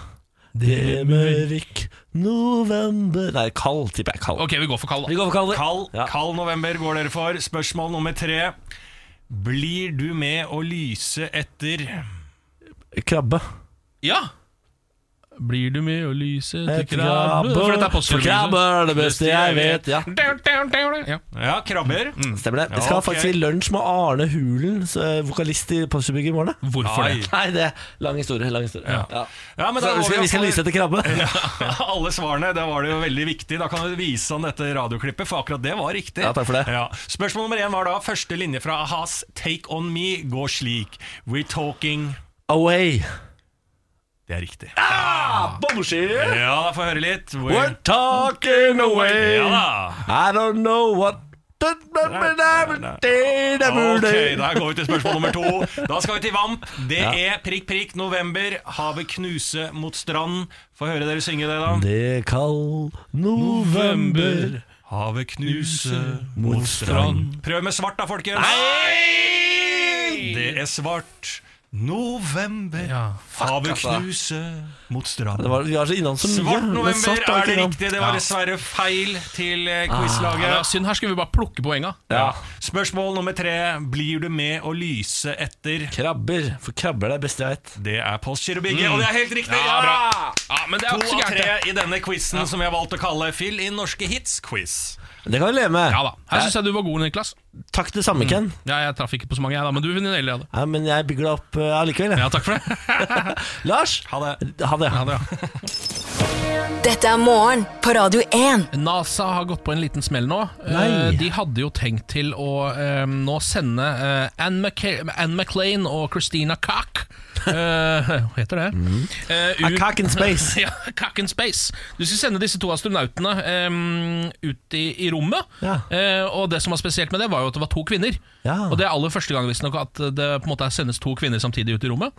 [SPEAKER 1] Det er mørk november Nei, kald tipper jeg. Kald.
[SPEAKER 2] Ok, vi går for kald,
[SPEAKER 1] Vi
[SPEAKER 2] da.
[SPEAKER 1] går for kald.
[SPEAKER 9] Kald,
[SPEAKER 1] Ja.
[SPEAKER 9] kald november går dere for. Spørsmål nummer tre. Blir du med å lyse etter
[SPEAKER 1] Krabbe.
[SPEAKER 2] Ja! Blir du med å lyse til
[SPEAKER 1] Etter
[SPEAKER 2] krabbe For dette er postfølge.
[SPEAKER 1] Krabbe er det beste jeg vet. Ja,
[SPEAKER 2] Ja.
[SPEAKER 9] Ja, krabber?
[SPEAKER 1] stemmer det.
[SPEAKER 9] Ja,
[SPEAKER 1] Vi skal
[SPEAKER 9] ok.
[SPEAKER 1] faktisk i lunsj med Arne Hulen, så, eh, vokalist i Postbygget, i morgen. da.
[SPEAKER 2] Hvorfor det?
[SPEAKER 9] Nei.
[SPEAKER 1] Nei, det er lang historie. Lang historie. Ja.
[SPEAKER 9] Ja, men
[SPEAKER 1] Så,
[SPEAKER 9] da
[SPEAKER 1] vi, skal,
[SPEAKER 9] går
[SPEAKER 1] vi skal
[SPEAKER 9] for-
[SPEAKER 1] lyse etter krabbe.
[SPEAKER 9] Ja, alle svarene. Da var det jo veldig viktig. Da kan du vise han dette radioklippet, for akkurat det var riktig.
[SPEAKER 1] Ja, takk for det.
[SPEAKER 9] Ja. Spørsmål nummer én var da første linje fra Ahas Take On Me går slik. We're talking
[SPEAKER 1] Away.
[SPEAKER 9] Det er riktig. Ja,
[SPEAKER 1] Ah!
[SPEAKER 9] da får jeg høre litt.
[SPEAKER 1] We're talking away.
[SPEAKER 9] Ja da.
[SPEAKER 1] I don't know what
[SPEAKER 9] Ok, da går vi til spørsmål nummer to. Da skal vi til Vamp. Det er prikk, prikk, november. Havet knuse mot strand. Få høre dere synge det, da.
[SPEAKER 1] Det er kald november
[SPEAKER 9] Havet knuse mot strand. Prøv med svart, da, folkens. Det er svart. November.
[SPEAKER 2] Ja.
[SPEAKER 9] Havet knuse mot strand.
[SPEAKER 1] det var, Vi var så innom så mye
[SPEAKER 9] Svart
[SPEAKER 1] men
[SPEAKER 9] november
[SPEAKER 1] svart var
[SPEAKER 9] er det
[SPEAKER 1] ikke innom.
[SPEAKER 9] riktig. Det var dessverre feil til eh,
[SPEAKER 2] Ja, det er
[SPEAKER 9] quizlaget.
[SPEAKER 2] synd, her skulle vi bare plukke poenga.
[SPEAKER 9] Ah, Ja. Spørsmål nummer tre. Blir du med å lyse etter?
[SPEAKER 1] Krabber, for krabber er det beste jeg vet
[SPEAKER 9] Det er Postgiro Bigge, og det er helt riktig!
[SPEAKER 2] Mm. Ja, bra. Ja, men det er
[SPEAKER 9] To
[SPEAKER 2] ikke så
[SPEAKER 9] av
[SPEAKER 2] gærent.
[SPEAKER 9] tre
[SPEAKER 2] det.
[SPEAKER 9] i denne quizen som jeg har valgt å kalle Fyll inn norske hits-quiz.
[SPEAKER 1] Det kan vi leve med
[SPEAKER 2] Ja da. Mm. Her syns jeg du var god, Niklas.
[SPEAKER 1] Takk til samme Ken
[SPEAKER 2] Ja, jeg traff ikke på så mange, jeg, da, men du vinner hele, ja, da.
[SPEAKER 1] ja, Men jeg bygger det opp uh, allikevel jeg.
[SPEAKER 2] Ja, takk for det.
[SPEAKER 1] Lars,
[SPEAKER 9] Ha det.
[SPEAKER 1] ha det
[SPEAKER 3] Dette er morgen på Radio 1.
[SPEAKER 2] NASA har gått på en liten smell nå.
[SPEAKER 1] Nei.
[SPEAKER 2] Eh, De hadde jo tenkt til å eh, nå sende eh, Anne, McKay, Anne McLean og Christina Cock eh, Hva heter det?
[SPEAKER 1] Mm.
[SPEAKER 2] Eh,
[SPEAKER 1] A
[SPEAKER 2] ut-
[SPEAKER 1] cock in space
[SPEAKER 2] ja, Cock in space. Du skal sende disse to astronautene em, ut i, i rommet.
[SPEAKER 1] Ja.
[SPEAKER 2] Eh, og det som var spesielt med det, var jo at det var to kvinner.
[SPEAKER 1] Ja.
[SPEAKER 2] Og det er aller første gang visstnok at det på en måte sendes to kvinner samtidig ut i rommet.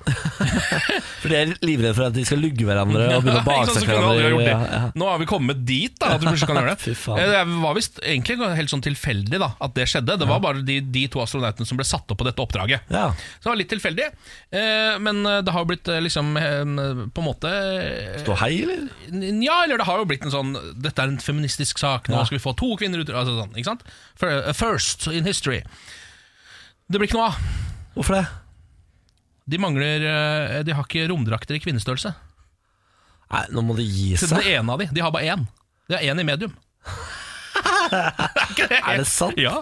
[SPEAKER 1] For de er livredd for at de skal lugge hverandre Og begynne å
[SPEAKER 2] Ikke sant,
[SPEAKER 1] bake
[SPEAKER 2] så
[SPEAKER 1] seg
[SPEAKER 2] kunne alle
[SPEAKER 1] hverandre
[SPEAKER 2] gjort det.
[SPEAKER 1] Ja, ja.
[SPEAKER 2] Nå har vi kommet dit, da, at du plutselig kan gjøre
[SPEAKER 1] Fy
[SPEAKER 2] det.
[SPEAKER 1] faen.
[SPEAKER 2] Eh, Det var visst egentlig helt sånn tilfeldig da, at det skjedde. Det var bare de, de to astronautene som ble satt opp på dette oppdraget.
[SPEAKER 1] Ja.
[SPEAKER 2] Så det var litt tilfeldig, eh, men det har jo blitt eh, liksom eh, på en måte eh,
[SPEAKER 1] Stå hei, eller?
[SPEAKER 2] Nja, eller det har jo blitt en sånn Dette er en feministisk sak, nå skal vi få to kvinner ut altså sånn, ikke sant? Fir- eh, First in history. Det blir ikke noe av.
[SPEAKER 1] Hvorfor det?
[SPEAKER 2] De mangler eh, De har ikke romdrakter i kvinnestørrelse.
[SPEAKER 1] Nei, nå må det gi
[SPEAKER 2] Til
[SPEAKER 1] seg
[SPEAKER 2] den ene av de. De har bare én. Det er én i medium.
[SPEAKER 1] Er det sant?
[SPEAKER 2] Ja.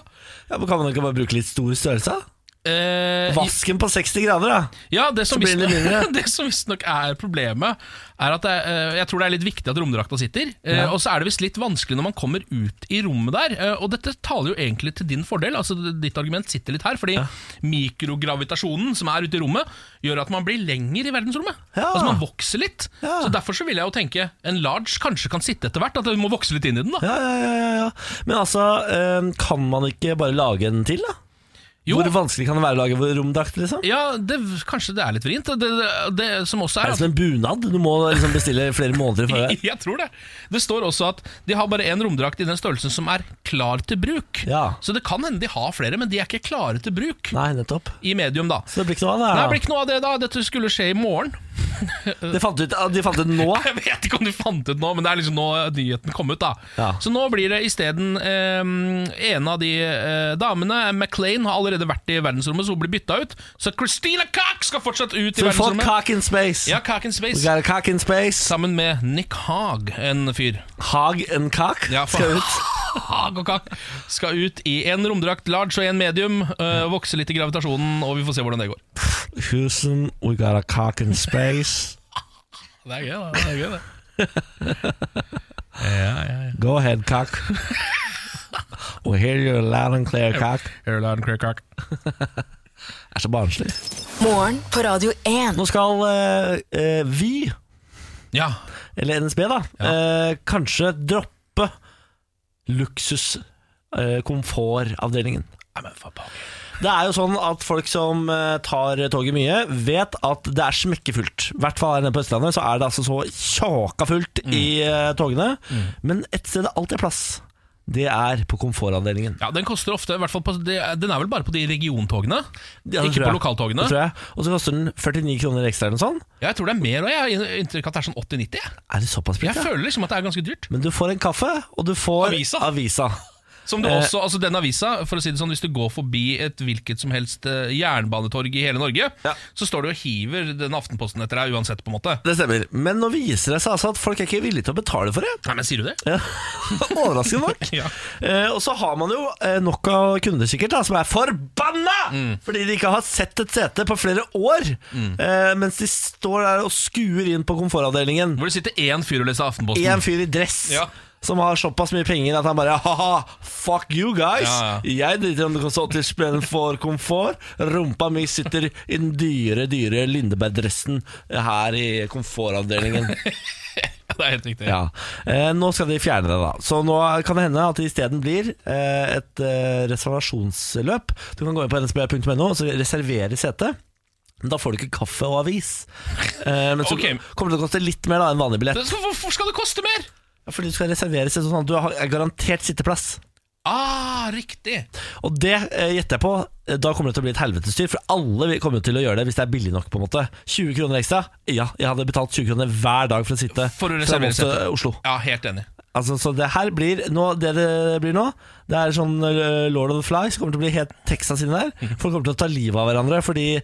[SPEAKER 1] Ja, men kan man ikke bare bruke litt stor størrelse? da?
[SPEAKER 2] eh,
[SPEAKER 1] Vasken på 60 grader, da.
[SPEAKER 2] Ja, det som,
[SPEAKER 1] Så blir den litt
[SPEAKER 2] visstnok-
[SPEAKER 1] mindre.
[SPEAKER 2] det som visstnok er problemet, er at det, er, eh, jeg tror det er litt viktig at romdrakta sitter. eh, Og så er det visst litt vanskelig når man kommer ut i rommet der. eh, Og dette taler jo egentlig til din fordel, altså d- ditt argument sitter litt her. Fordi mikrogravitasjonen som er ute i rommet, gjør at man blir lenger i verdensrommet.
[SPEAKER 1] Ja.
[SPEAKER 2] Altså man vokser litt.
[SPEAKER 1] Ja.
[SPEAKER 2] Så derfor så vil jeg jo tenke en large kanskje kan sitte etter hvert, at du må vokse litt inn i den. da
[SPEAKER 1] Ja, ja, ja, ja, ja. Men altså, eh, kan man ikke bare lage en til, da?
[SPEAKER 2] Jo.
[SPEAKER 1] Hvor vanskelig kan det være å lage romdrakt? liksom?
[SPEAKER 2] Ja, det, kanskje det er litt vrient. Det, det, det som også
[SPEAKER 1] Er det
[SPEAKER 2] er at-
[SPEAKER 1] som en bunad? Du må liksom bestille flere måneder i forveien.
[SPEAKER 2] Jeg tror det. Det står også at de har bare én romdrakt i den størrelsen som er klar til bruk.
[SPEAKER 1] Ja.
[SPEAKER 2] Så det kan hende de har flere, men de er ikke klare til bruk
[SPEAKER 1] Nei, nettopp.
[SPEAKER 2] i medium, da.
[SPEAKER 1] Så det blir ikke noe av det
[SPEAKER 2] Nei,
[SPEAKER 1] her.
[SPEAKER 2] det
[SPEAKER 1] da.
[SPEAKER 2] blir ikke noe av det, da. Dette skulle skje i morgen.
[SPEAKER 1] Det fant ut, ah, de fant ut nå?
[SPEAKER 2] Jeg vet ikke om du fant ut nå, men det er liksom nå nyheten kom ut, da.
[SPEAKER 1] Ja.
[SPEAKER 2] Så nå blir det isteden eh, en av de eh, damene, Maclean, har allerede vært i verdensrommet, så hun blir bytta ut. Så Christina Cock skal fortsatt ut i
[SPEAKER 1] Så vi får
[SPEAKER 2] verdensrommet.
[SPEAKER 1] cock in space.
[SPEAKER 2] Ja, Cock in
[SPEAKER 1] We
[SPEAKER 2] Space.
[SPEAKER 1] got a cock in space.
[SPEAKER 2] Sammen med Nick Haag, en fyr.
[SPEAKER 1] Hag and cock
[SPEAKER 2] Ja, faen.
[SPEAKER 1] skal ut.
[SPEAKER 2] Hag og Kak skal ut i en romdrakt, large og en medium. øh, vokse litt i gravitasjonen, og vi får se hvordan det går.
[SPEAKER 1] Houston, we got a cock in space.
[SPEAKER 2] Det er gøy, da. Det er gøy, det. ja, ja, ja.
[SPEAKER 1] Go ahead, cock. We hear you loud and clear, cock.
[SPEAKER 2] Airline Craig Kak.
[SPEAKER 1] Det er så barnslig.
[SPEAKER 3] Morgen på Radio 1.
[SPEAKER 1] Nå skal eh, eh, vi,
[SPEAKER 2] Ja.
[SPEAKER 1] eller NSB, da, eh, kanskje droppe luksus eh, komfortavdelingen.
[SPEAKER 2] Nei, men for pokker.
[SPEAKER 1] Det er jo sånn at folk som eh, tar toget mye, vet at det er smekkefullt. I hvert fall her nede på Østlandet så er det altså så tjåka fullt i eh, togene. Men et sted det alltid er plass, det er på komfortavdelingen.
[SPEAKER 2] ja, den koster ofte i hvert fall på, det, Den er vel bare på de regiontogene?
[SPEAKER 1] Ja, det
[SPEAKER 2] ikke
[SPEAKER 1] tror
[SPEAKER 2] på
[SPEAKER 1] jeg.
[SPEAKER 2] lokaltogene?
[SPEAKER 1] Det tror jeg. Og så koster den 49 kroner ekstra eller noe sånt.
[SPEAKER 2] Ja, jeg tror det er mer, og jeg har inntrykk av at det er sånn 80-90. jeg.
[SPEAKER 1] Er det såpass
[SPEAKER 2] Jeg
[SPEAKER 1] billig? ja?
[SPEAKER 2] føler liksom at det er ganske dyrt.
[SPEAKER 1] Men du får en kaffe, og du får
[SPEAKER 2] Avisa. Som det
[SPEAKER 1] Eh.
[SPEAKER 2] også, altså den avisa, for å si det sånn, Hvis du går forbi et hvilket som helst eh, jernbanetorg i hele Norge, så står du og hiver den Aftenposten etter deg uansett. på en måte
[SPEAKER 1] Det stemmer. Men nå viser det seg altså at folk er ikke villige til å betale for det.
[SPEAKER 2] Nei, men Sier du det?
[SPEAKER 1] Ja. Overraskende nok.
[SPEAKER 2] Ja.
[SPEAKER 1] eh, og så har man jo eh, nok av kunder sikkert da, som er forbanna
[SPEAKER 2] Mm.
[SPEAKER 1] fordi de ikke har sett et sete på flere år, eh, mens de står der og skuer inn på komfortavdelingen.
[SPEAKER 2] Hvor det sitter én fyr og leser Aftenposten.
[SPEAKER 1] Én fyr i dress.
[SPEAKER 2] Ja.
[SPEAKER 1] Som har såpass mye penger at han bare Haha, fuck you guys!
[SPEAKER 2] Ja,
[SPEAKER 1] Jeg driter om det koster 80 spenn for komfort. Rumpa mi sitter i den dyre, dyre Lindeberg-dressen her i komfortavdelingen.
[SPEAKER 2] Ja, det er helt riktig.
[SPEAKER 1] Ja. Eh, nå skal de fjerne det, da. Så nå kan det hende at det isteden blir eh, et eh, reservasjonsløp. Du kan gå inn på nsb.no og så reservere sete. Men da får du ikke kaffe og avis. Eh, men så
[SPEAKER 2] Ok.
[SPEAKER 1] kommer det til å koste litt mer da enn vanlig billett.
[SPEAKER 2] Det- så Hvorfor skal det koste mer?
[SPEAKER 1] Ja, Fordi du skal reservere sete sånn at du har er garantert sitteplass.
[SPEAKER 2] Ah, riktig.
[SPEAKER 1] Og det eh, gjetter jeg på. eh, Da kommer det til å bli et helvetesdyr, for alle vil- kommer til å gjøre det hvis det er billig nok. på en måte 20 kroner ekstra? Ja, jeg hadde betalt 20 kroner hver dag for å sitte
[SPEAKER 2] For
[SPEAKER 1] fra
[SPEAKER 2] å reservere
[SPEAKER 1] Vold til
[SPEAKER 2] sete.
[SPEAKER 1] Oslo.
[SPEAKER 2] Ja, helt enig.
[SPEAKER 1] Altså, så det her blir nå, Det det blir nå Det er sånn eh, Lord of the Flies Kommer til å bli helt Texas inne
[SPEAKER 2] Mhm.
[SPEAKER 1] der Folk kommer til å ta livet av hverandre Fordi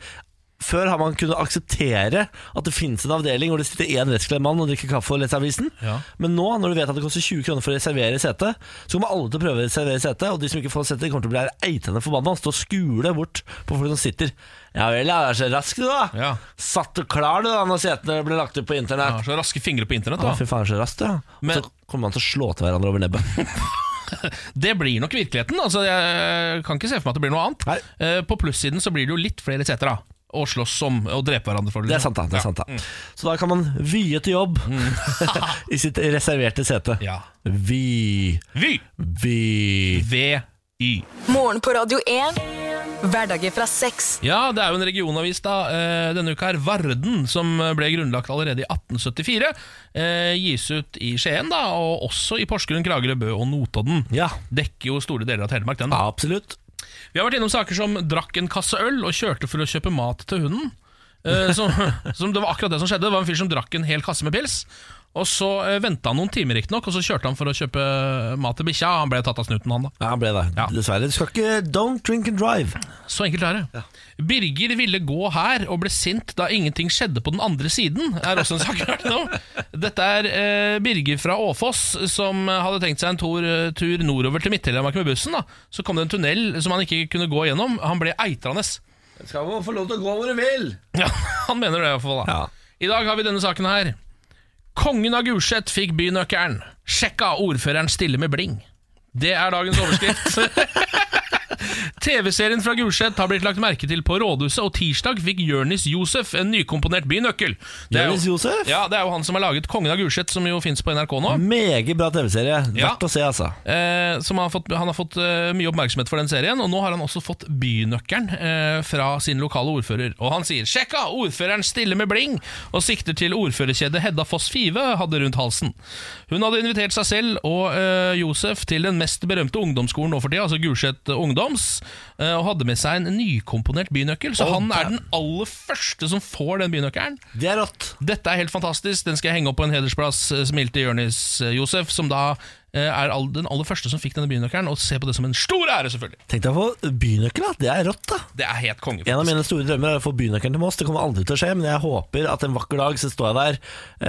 [SPEAKER 1] før har man kunnet akseptere At det finnes en avdeling Hvor det sitter en rettsklemt mann Og drikker kaffe og leser avisen
[SPEAKER 2] Ja.
[SPEAKER 1] Men nå, når du vet at det koster 20 kroner For å reservere sete Så kommer alle til å prøve å reservere sete Og de som ikke får sete Kommer til å bli her eitende forbanna og Stå og skule bort På folk som sitter Ja vel, ja, det er så rask du da
[SPEAKER 2] Ja.
[SPEAKER 1] Satt du klar du da Når setene ble lagt ut på internett
[SPEAKER 2] Ja, så raske fingre på internett,
[SPEAKER 1] ja,
[SPEAKER 2] da.
[SPEAKER 1] fy faen, så raskt, ja. Og
[SPEAKER 2] Men-
[SPEAKER 1] så kommer man til å slå til hverandre over nebbet.
[SPEAKER 2] Det blir nok virkeligheten. altså Jeg kan ikke se for meg at det blir noe annet.
[SPEAKER 1] Nei.
[SPEAKER 2] Eh, På plussiden så blir det jo litt flere seter, da. Å slåss om og drepe hverandre for. liksom-
[SPEAKER 1] Det er sant, da. Det er sant, da.
[SPEAKER 2] Mm.
[SPEAKER 1] Så da kan man vie til jobb i sitt reserverte sete.
[SPEAKER 2] Ja.
[SPEAKER 1] Vi,
[SPEAKER 2] Vy!
[SPEAKER 1] vi
[SPEAKER 2] V-Y.
[SPEAKER 3] Morgen på Radio 1. Hverdager fra seks.
[SPEAKER 2] Ja, det er jo en regionavis da eh, denne uka her, Varden, som ble grunnlagt allerede i 1874. eh, Gis ut i Skien, da, og også i Porsgrunn, Kragerø, Bø og Notodden.
[SPEAKER 1] Ja.
[SPEAKER 2] Dekker jo store deler av Telemark, den. da.
[SPEAKER 1] Absolutt.
[SPEAKER 2] Vi har vært innom saker som drakk en kasse øl og kjørte for å kjøpe mat til hunden. Eh, som, som det var akkurat det som skjedde. Det var en fyr som drakk en hel kasse med pils. Og så eh, venta han noen timer, riktignok, og så kjørte han for å kjøpe eh, mat til bikkja. Han ble tatt av snuten, han da.
[SPEAKER 1] Ja, han ble det.
[SPEAKER 2] Ja.
[SPEAKER 1] Dessverre. Du skal ikke Don't drink and drive.
[SPEAKER 2] Så enkelt er det. Birger ville gå her og ble sint da ingenting skjedde på den andre siden. er også en sak vi har vært innom. Dette er eh, Birger fra Åfoss som eh, hadde tenkt seg en tur, tur nordover til Midt-Telemark med bussen. da Så kom det en tunnel som han ikke kunne gå gjennom. Han ble eitrende.
[SPEAKER 1] Skal man få lov til å gå hvor du vil?
[SPEAKER 2] Ja, han mener det i hvert fall. da
[SPEAKER 1] Ja.
[SPEAKER 2] I dag har vi denne saken her. Kongen av Gulset fikk bynøkkelen. Sjekka ordføreren stille med bling. Det er dagens overskrift. TV-serien fra Gulset har blitt lagt merke til på rådhuset, og tirsdag fikk Jørnis Josef en nykomponert bynøkkel. Det er jo-
[SPEAKER 1] Jonis Josef?
[SPEAKER 2] Ja, det er jo han som har laget Kongen av Gulset, som jo fins på NRK nå.
[SPEAKER 1] Meget bra TV-serie.
[SPEAKER 2] Ja.
[SPEAKER 1] Verdt å se, altså.
[SPEAKER 2] Eh, som har fått, han har fått eh, mye oppmerksomhet for den serien, og nå har han også fått bynøkkelen eh, fra sin lokale ordfører. Og han sier 'sjekka, ordføreren stille med bling', og sikter til ordførerkjedet Hedda Foss Five hadde rundt halsen. Hun hadde invitert seg selv og eh, Josef til den mest berømte ungdomsskolen nå for tida, altså Gulset Ungdoms, eh, og hadde med seg en nykomponert bynøkkel, så
[SPEAKER 1] Å,
[SPEAKER 2] han er
[SPEAKER 1] damn.
[SPEAKER 2] den aller første som får den bynøkkelen.
[SPEAKER 1] Det er rått.
[SPEAKER 2] Dette er helt fantastisk, den skal jeg henge opp på en hedersplass, eh, smilte Jørnis eh, Josef, som da eh, er all, den aller første som fikk denne bynøkkelen, og ser på det som en stor ære, selvfølgelig.
[SPEAKER 1] Tenk deg å få bynøkkel, da. Det er rått, da.
[SPEAKER 2] Det er helt konge.
[SPEAKER 1] En av
[SPEAKER 2] faktisk.
[SPEAKER 1] mine store drømmer er å få bynøkkelen til Moss. Det kommer aldri til å skje, men jeg håper at en vakker dag så står jeg der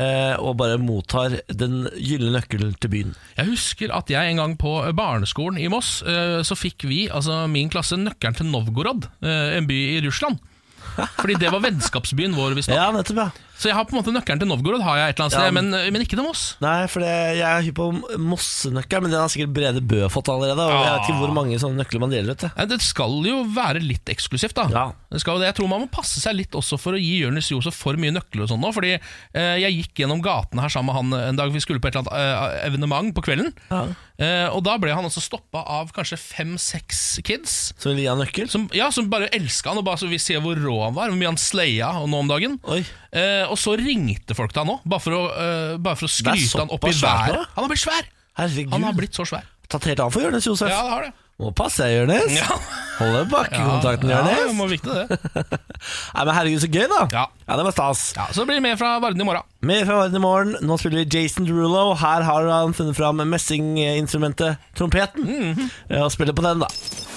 [SPEAKER 1] eh, og bare mottar den gylne nøkkelen til byen.
[SPEAKER 2] Jeg husker at jeg en gang på eh, barneskolen i Moss, eh, så fikk vi, altså min klasse, nøkkelen til Novgorod, eh, en by i Russland. Fordi det var vennskapsbyen vår, visstnok.
[SPEAKER 1] Ja, nettopp, ja.
[SPEAKER 2] Så jeg har på en måte nøkkelen til Novgorod, har jeg et eller annet
[SPEAKER 1] Ja.
[SPEAKER 2] sted, men, men ikke til Moss.
[SPEAKER 1] Nei, for det, jeg er hypp på Mossenøkkelen, men den har sikkert Brede Bø fått allerede. Og jeg vet ikke
[SPEAKER 2] Ah.
[SPEAKER 1] hvor mange sånne nøkler man deler ut.
[SPEAKER 2] Nei, Det skal jo være litt eksklusivt, da.
[SPEAKER 1] Ja.
[SPEAKER 2] Det skal jo det. Jeg tror man må passe seg litt også for å gi Jonis Josef for mye nøkler og sånn nå. Fordi eh, jeg gikk gjennom gatene her sammen med han eh, en dag vi skulle på et eller annet eh, evenement på kvelden.
[SPEAKER 1] Ja.
[SPEAKER 2] Eh, og da ble han også stoppa av kanskje fem-seks kids.
[SPEAKER 1] Som vil gi han nøkkel.
[SPEAKER 2] Som, ja, som bare elska han, og bare så vi ser hvor rå han var, hvor mye han slaya og nå om dagen.
[SPEAKER 1] Oi.
[SPEAKER 2] Eh, og så ringte folk til han òg, bare, for å, eh, bare for å
[SPEAKER 1] er
[SPEAKER 2] skryte han opp i
[SPEAKER 1] såpass svært nå?
[SPEAKER 2] været. Han har blitt svær!
[SPEAKER 1] Herregud.
[SPEAKER 2] Han har blitt så svær.
[SPEAKER 1] Tatt helt av for Jonis Josef.
[SPEAKER 2] Ja, det har det.
[SPEAKER 1] Må passe deg, Jonis.
[SPEAKER 2] Ja.
[SPEAKER 1] Holde bakkekontakten,
[SPEAKER 2] ja,
[SPEAKER 1] Jonis.
[SPEAKER 2] det må viktig, det.
[SPEAKER 1] Nei, men herregud, så gøy, da.
[SPEAKER 2] Ja.
[SPEAKER 1] det var stas.
[SPEAKER 2] Ja, så det blir mer fra Varden i morgen.
[SPEAKER 1] Mer fra verden i morgen. Nå spiller vi Jason Derulo. Her har han funnet fram messinginstrumentet trompeten. Ja, Og spiller på den, da.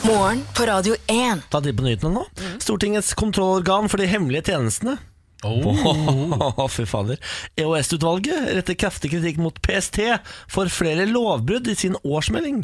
[SPEAKER 3] Morgen på Radio 1.
[SPEAKER 1] Ta tid på nyhetene nå. Stortingets kontrollorgan for de hemmelige tjenestene. Åh, Fy fader. EOS-utvalget retter kraftig kritikk mot PST for flere lovbrudd i sin årsmelding.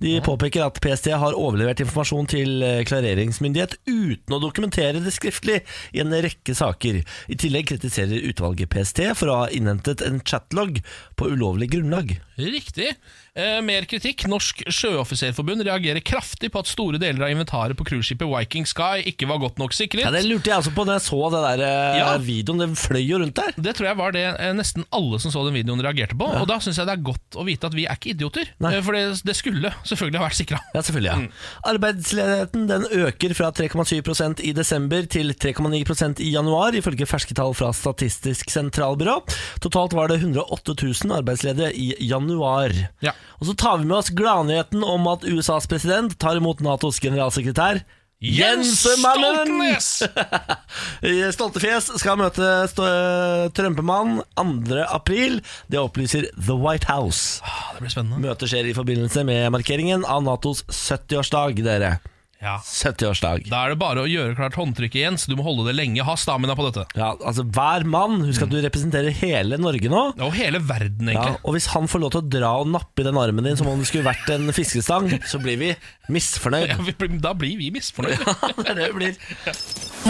[SPEAKER 1] De påpeker at PST har overlevert informasjon til eh, klareringsmyndighet uten å dokumentere det skriftlig i en rekke saker. I tillegg kritiserer utvalget PST for å ha innhentet en chatlog på ulovlig grunnlag.
[SPEAKER 2] Riktig. Eh, mer kritikk. Norsk Sjøoffiserforbund reagerer kraftig på at store deler av inventaret på cruiseskipet Viking Sky ikke var godt nok sikret.
[SPEAKER 1] Ja, Det lurte jeg også på da jeg så det der eh,
[SPEAKER 2] Ja.
[SPEAKER 1] videoen. Den fløy jo rundt der.
[SPEAKER 2] Det tror jeg var det eh, nesten alle som så den videoen reagerte på. Og da syns jeg det er godt å vite at vi er ikke idioter.
[SPEAKER 1] Nei.
[SPEAKER 2] Eh, For det, det skulle selvfølgelig ha vært sikra.
[SPEAKER 1] Ja, selvfølgelig. ja.
[SPEAKER 2] Mm.
[SPEAKER 1] Arbeidsledigheten den øker fra 3,7 i desember til 3,9 i januar, ifølge ferske tall fra Statistisk sentralbyrå. Totalt var det 108 000 arbeidsledige i januar.
[SPEAKER 2] Ja.
[SPEAKER 1] Og så tar vi med oss gladnyheten om at USAs president tar imot Natos generalsekretær. Stoltefjes skal møte Sto- Trumpemann 2. april. Det opplyser The White House.
[SPEAKER 2] Ah, det blir spennende.
[SPEAKER 1] Møtet skjer i forbindelse med markeringen av Natos 70-årsdag, dere.
[SPEAKER 2] Ja.
[SPEAKER 1] 70-årsdag.
[SPEAKER 2] Da er det bare å gjøre klart håndtrykket, Jens. Du må holde det lenge. Ha stamina på dette.
[SPEAKER 1] Ja, altså Hver mann Husk
[SPEAKER 2] Mm.
[SPEAKER 1] at du representerer hele Norge nå.
[SPEAKER 2] Og hele verden,
[SPEAKER 1] Ja,
[SPEAKER 2] egentlig.
[SPEAKER 1] og hvis han får lov til å dra og nappe i den armen din som om det skulle vært en fiskestang, så blir vi misfornøyd.
[SPEAKER 2] Ja, vi blir- da blir vi misfornøyde.
[SPEAKER 1] Det er det vi blir.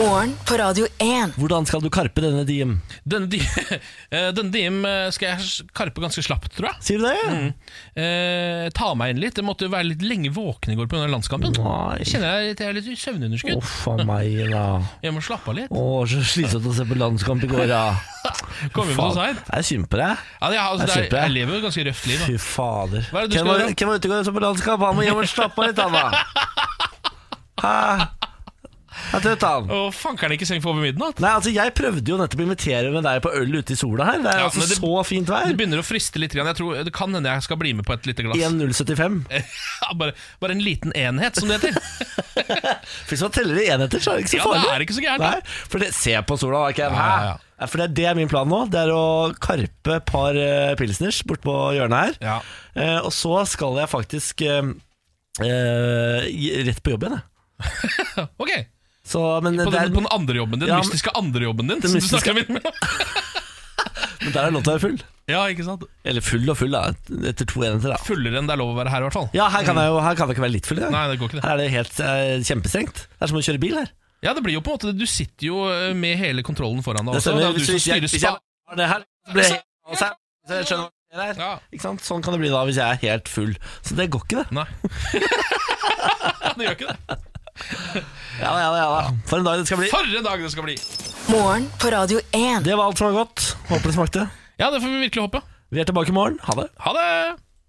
[SPEAKER 3] Morgen på Radio 1.
[SPEAKER 1] Hvordan skal du karpe denne diem?
[SPEAKER 2] Denne, di eh, denne dim eh, skal jeg karpe ganske slapt, tror jeg.
[SPEAKER 1] Sier du det?
[SPEAKER 2] Mm. Eh, ta meg inn litt. Jeg måtte jo være litt lenge våken i går pga. landskampen.
[SPEAKER 1] Nei.
[SPEAKER 2] Jeg kjenner jeg, at jeg er litt i søvnunderskudd.
[SPEAKER 1] Uff a meg, da.
[SPEAKER 2] Jeg må slappe av litt.
[SPEAKER 1] Å, så slitsomt å se på landskamp i går, ja.
[SPEAKER 2] Kom igjen med noe
[SPEAKER 1] Faen.
[SPEAKER 2] seint.
[SPEAKER 1] Jeg er synd på deg.
[SPEAKER 2] Ja, det er-
[SPEAKER 1] Jeg
[SPEAKER 2] altså, det er-
[SPEAKER 1] kjøper.
[SPEAKER 2] jeg lever et ganske røft liv. Da.
[SPEAKER 1] Fy fader.
[SPEAKER 2] Hva er det du
[SPEAKER 1] Hvem
[SPEAKER 2] skal
[SPEAKER 1] var,
[SPEAKER 2] gjøre?
[SPEAKER 1] hvem var ute og så på landskamp? Han må hjem og slappe av litt, han da. Hæ? Jeg er trøtt, han.
[SPEAKER 2] Og fankeren ikke seng for over midnatt.
[SPEAKER 1] Nei, altså Jeg prøvde jo nettopp å invitere med deg på øl ute i sola her. Det er
[SPEAKER 2] Ja,
[SPEAKER 1] altså
[SPEAKER 2] men det-
[SPEAKER 1] så fint vær.
[SPEAKER 2] Det begynner å friste litt. grann. Jeg tror, det kan hende jeg skal bli med på et lite glass.
[SPEAKER 1] 1075.
[SPEAKER 2] Eh. Ja, bare, bare en liten enhet, som det heter.
[SPEAKER 1] Hvis man teller i enheter, så er det ikke så
[SPEAKER 2] Ja,
[SPEAKER 1] farlig.
[SPEAKER 2] det er ikke så gærent.
[SPEAKER 1] Nei, for det, Se på sola, da. Ken.
[SPEAKER 2] Ja, ja, ja.
[SPEAKER 1] Hæ? Ja, For det er det er min plan nå. Det er å karpe et par eh, pilsners bortpå hjørnet her.
[SPEAKER 2] Ja.
[SPEAKER 1] Eh, og så skal jeg faktisk eh, eh, i- rett på jobb igjen, jeg.
[SPEAKER 2] Ok,
[SPEAKER 1] Så, men
[SPEAKER 2] På
[SPEAKER 1] det er,
[SPEAKER 2] den, på den andre jobben din,
[SPEAKER 1] Ja,
[SPEAKER 2] den
[SPEAKER 1] men-
[SPEAKER 2] mystiske andre jobben din.
[SPEAKER 1] Den
[SPEAKER 2] Som du
[SPEAKER 1] mystiske-
[SPEAKER 2] snakket om.
[SPEAKER 1] men der er det lov til å være full.
[SPEAKER 2] Ja, ikke sant?
[SPEAKER 1] Eller full og full, da. Etter to enheter, da.
[SPEAKER 2] Fullere enn det er lov å være her, i hvert fall.
[SPEAKER 1] Ja, her kan jeg jo her kan jeg ikke være litt full. Jeg.
[SPEAKER 2] Nei, det går ikke det.
[SPEAKER 1] Her er det helt eh, kjempestrengt. Det er som å kjøre bil her.
[SPEAKER 2] Ja, det blir jo på en måte Du sitter jo eh, med hele kontrollen foran deg
[SPEAKER 1] Det
[SPEAKER 2] også. Det
[SPEAKER 1] stemmer.
[SPEAKER 2] er jo du
[SPEAKER 1] Hvis,
[SPEAKER 2] som
[SPEAKER 1] hvis, jeg,
[SPEAKER 2] styrer
[SPEAKER 1] hvis jeg
[SPEAKER 2] spa-
[SPEAKER 1] var det her, så ble jeg helt av seg. Så jeg skjønner hva det er.
[SPEAKER 2] Ja.
[SPEAKER 1] Ikke sant? Sånn kan det bli da hvis jeg er helt full. Så det går ikke, det.
[SPEAKER 2] Nei. det gjør ikke det.
[SPEAKER 1] Ja, ja, ja, ja. For en dag det skal bli.
[SPEAKER 2] For en dag det skal bli!
[SPEAKER 3] Morgen på Radio 1.
[SPEAKER 1] Det var alt som var godt. Håper det smakte.
[SPEAKER 2] Ja, det får vi virkelig håpe.
[SPEAKER 1] Vi er tilbake i morgen. Ha det.
[SPEAKER 2] Ha det!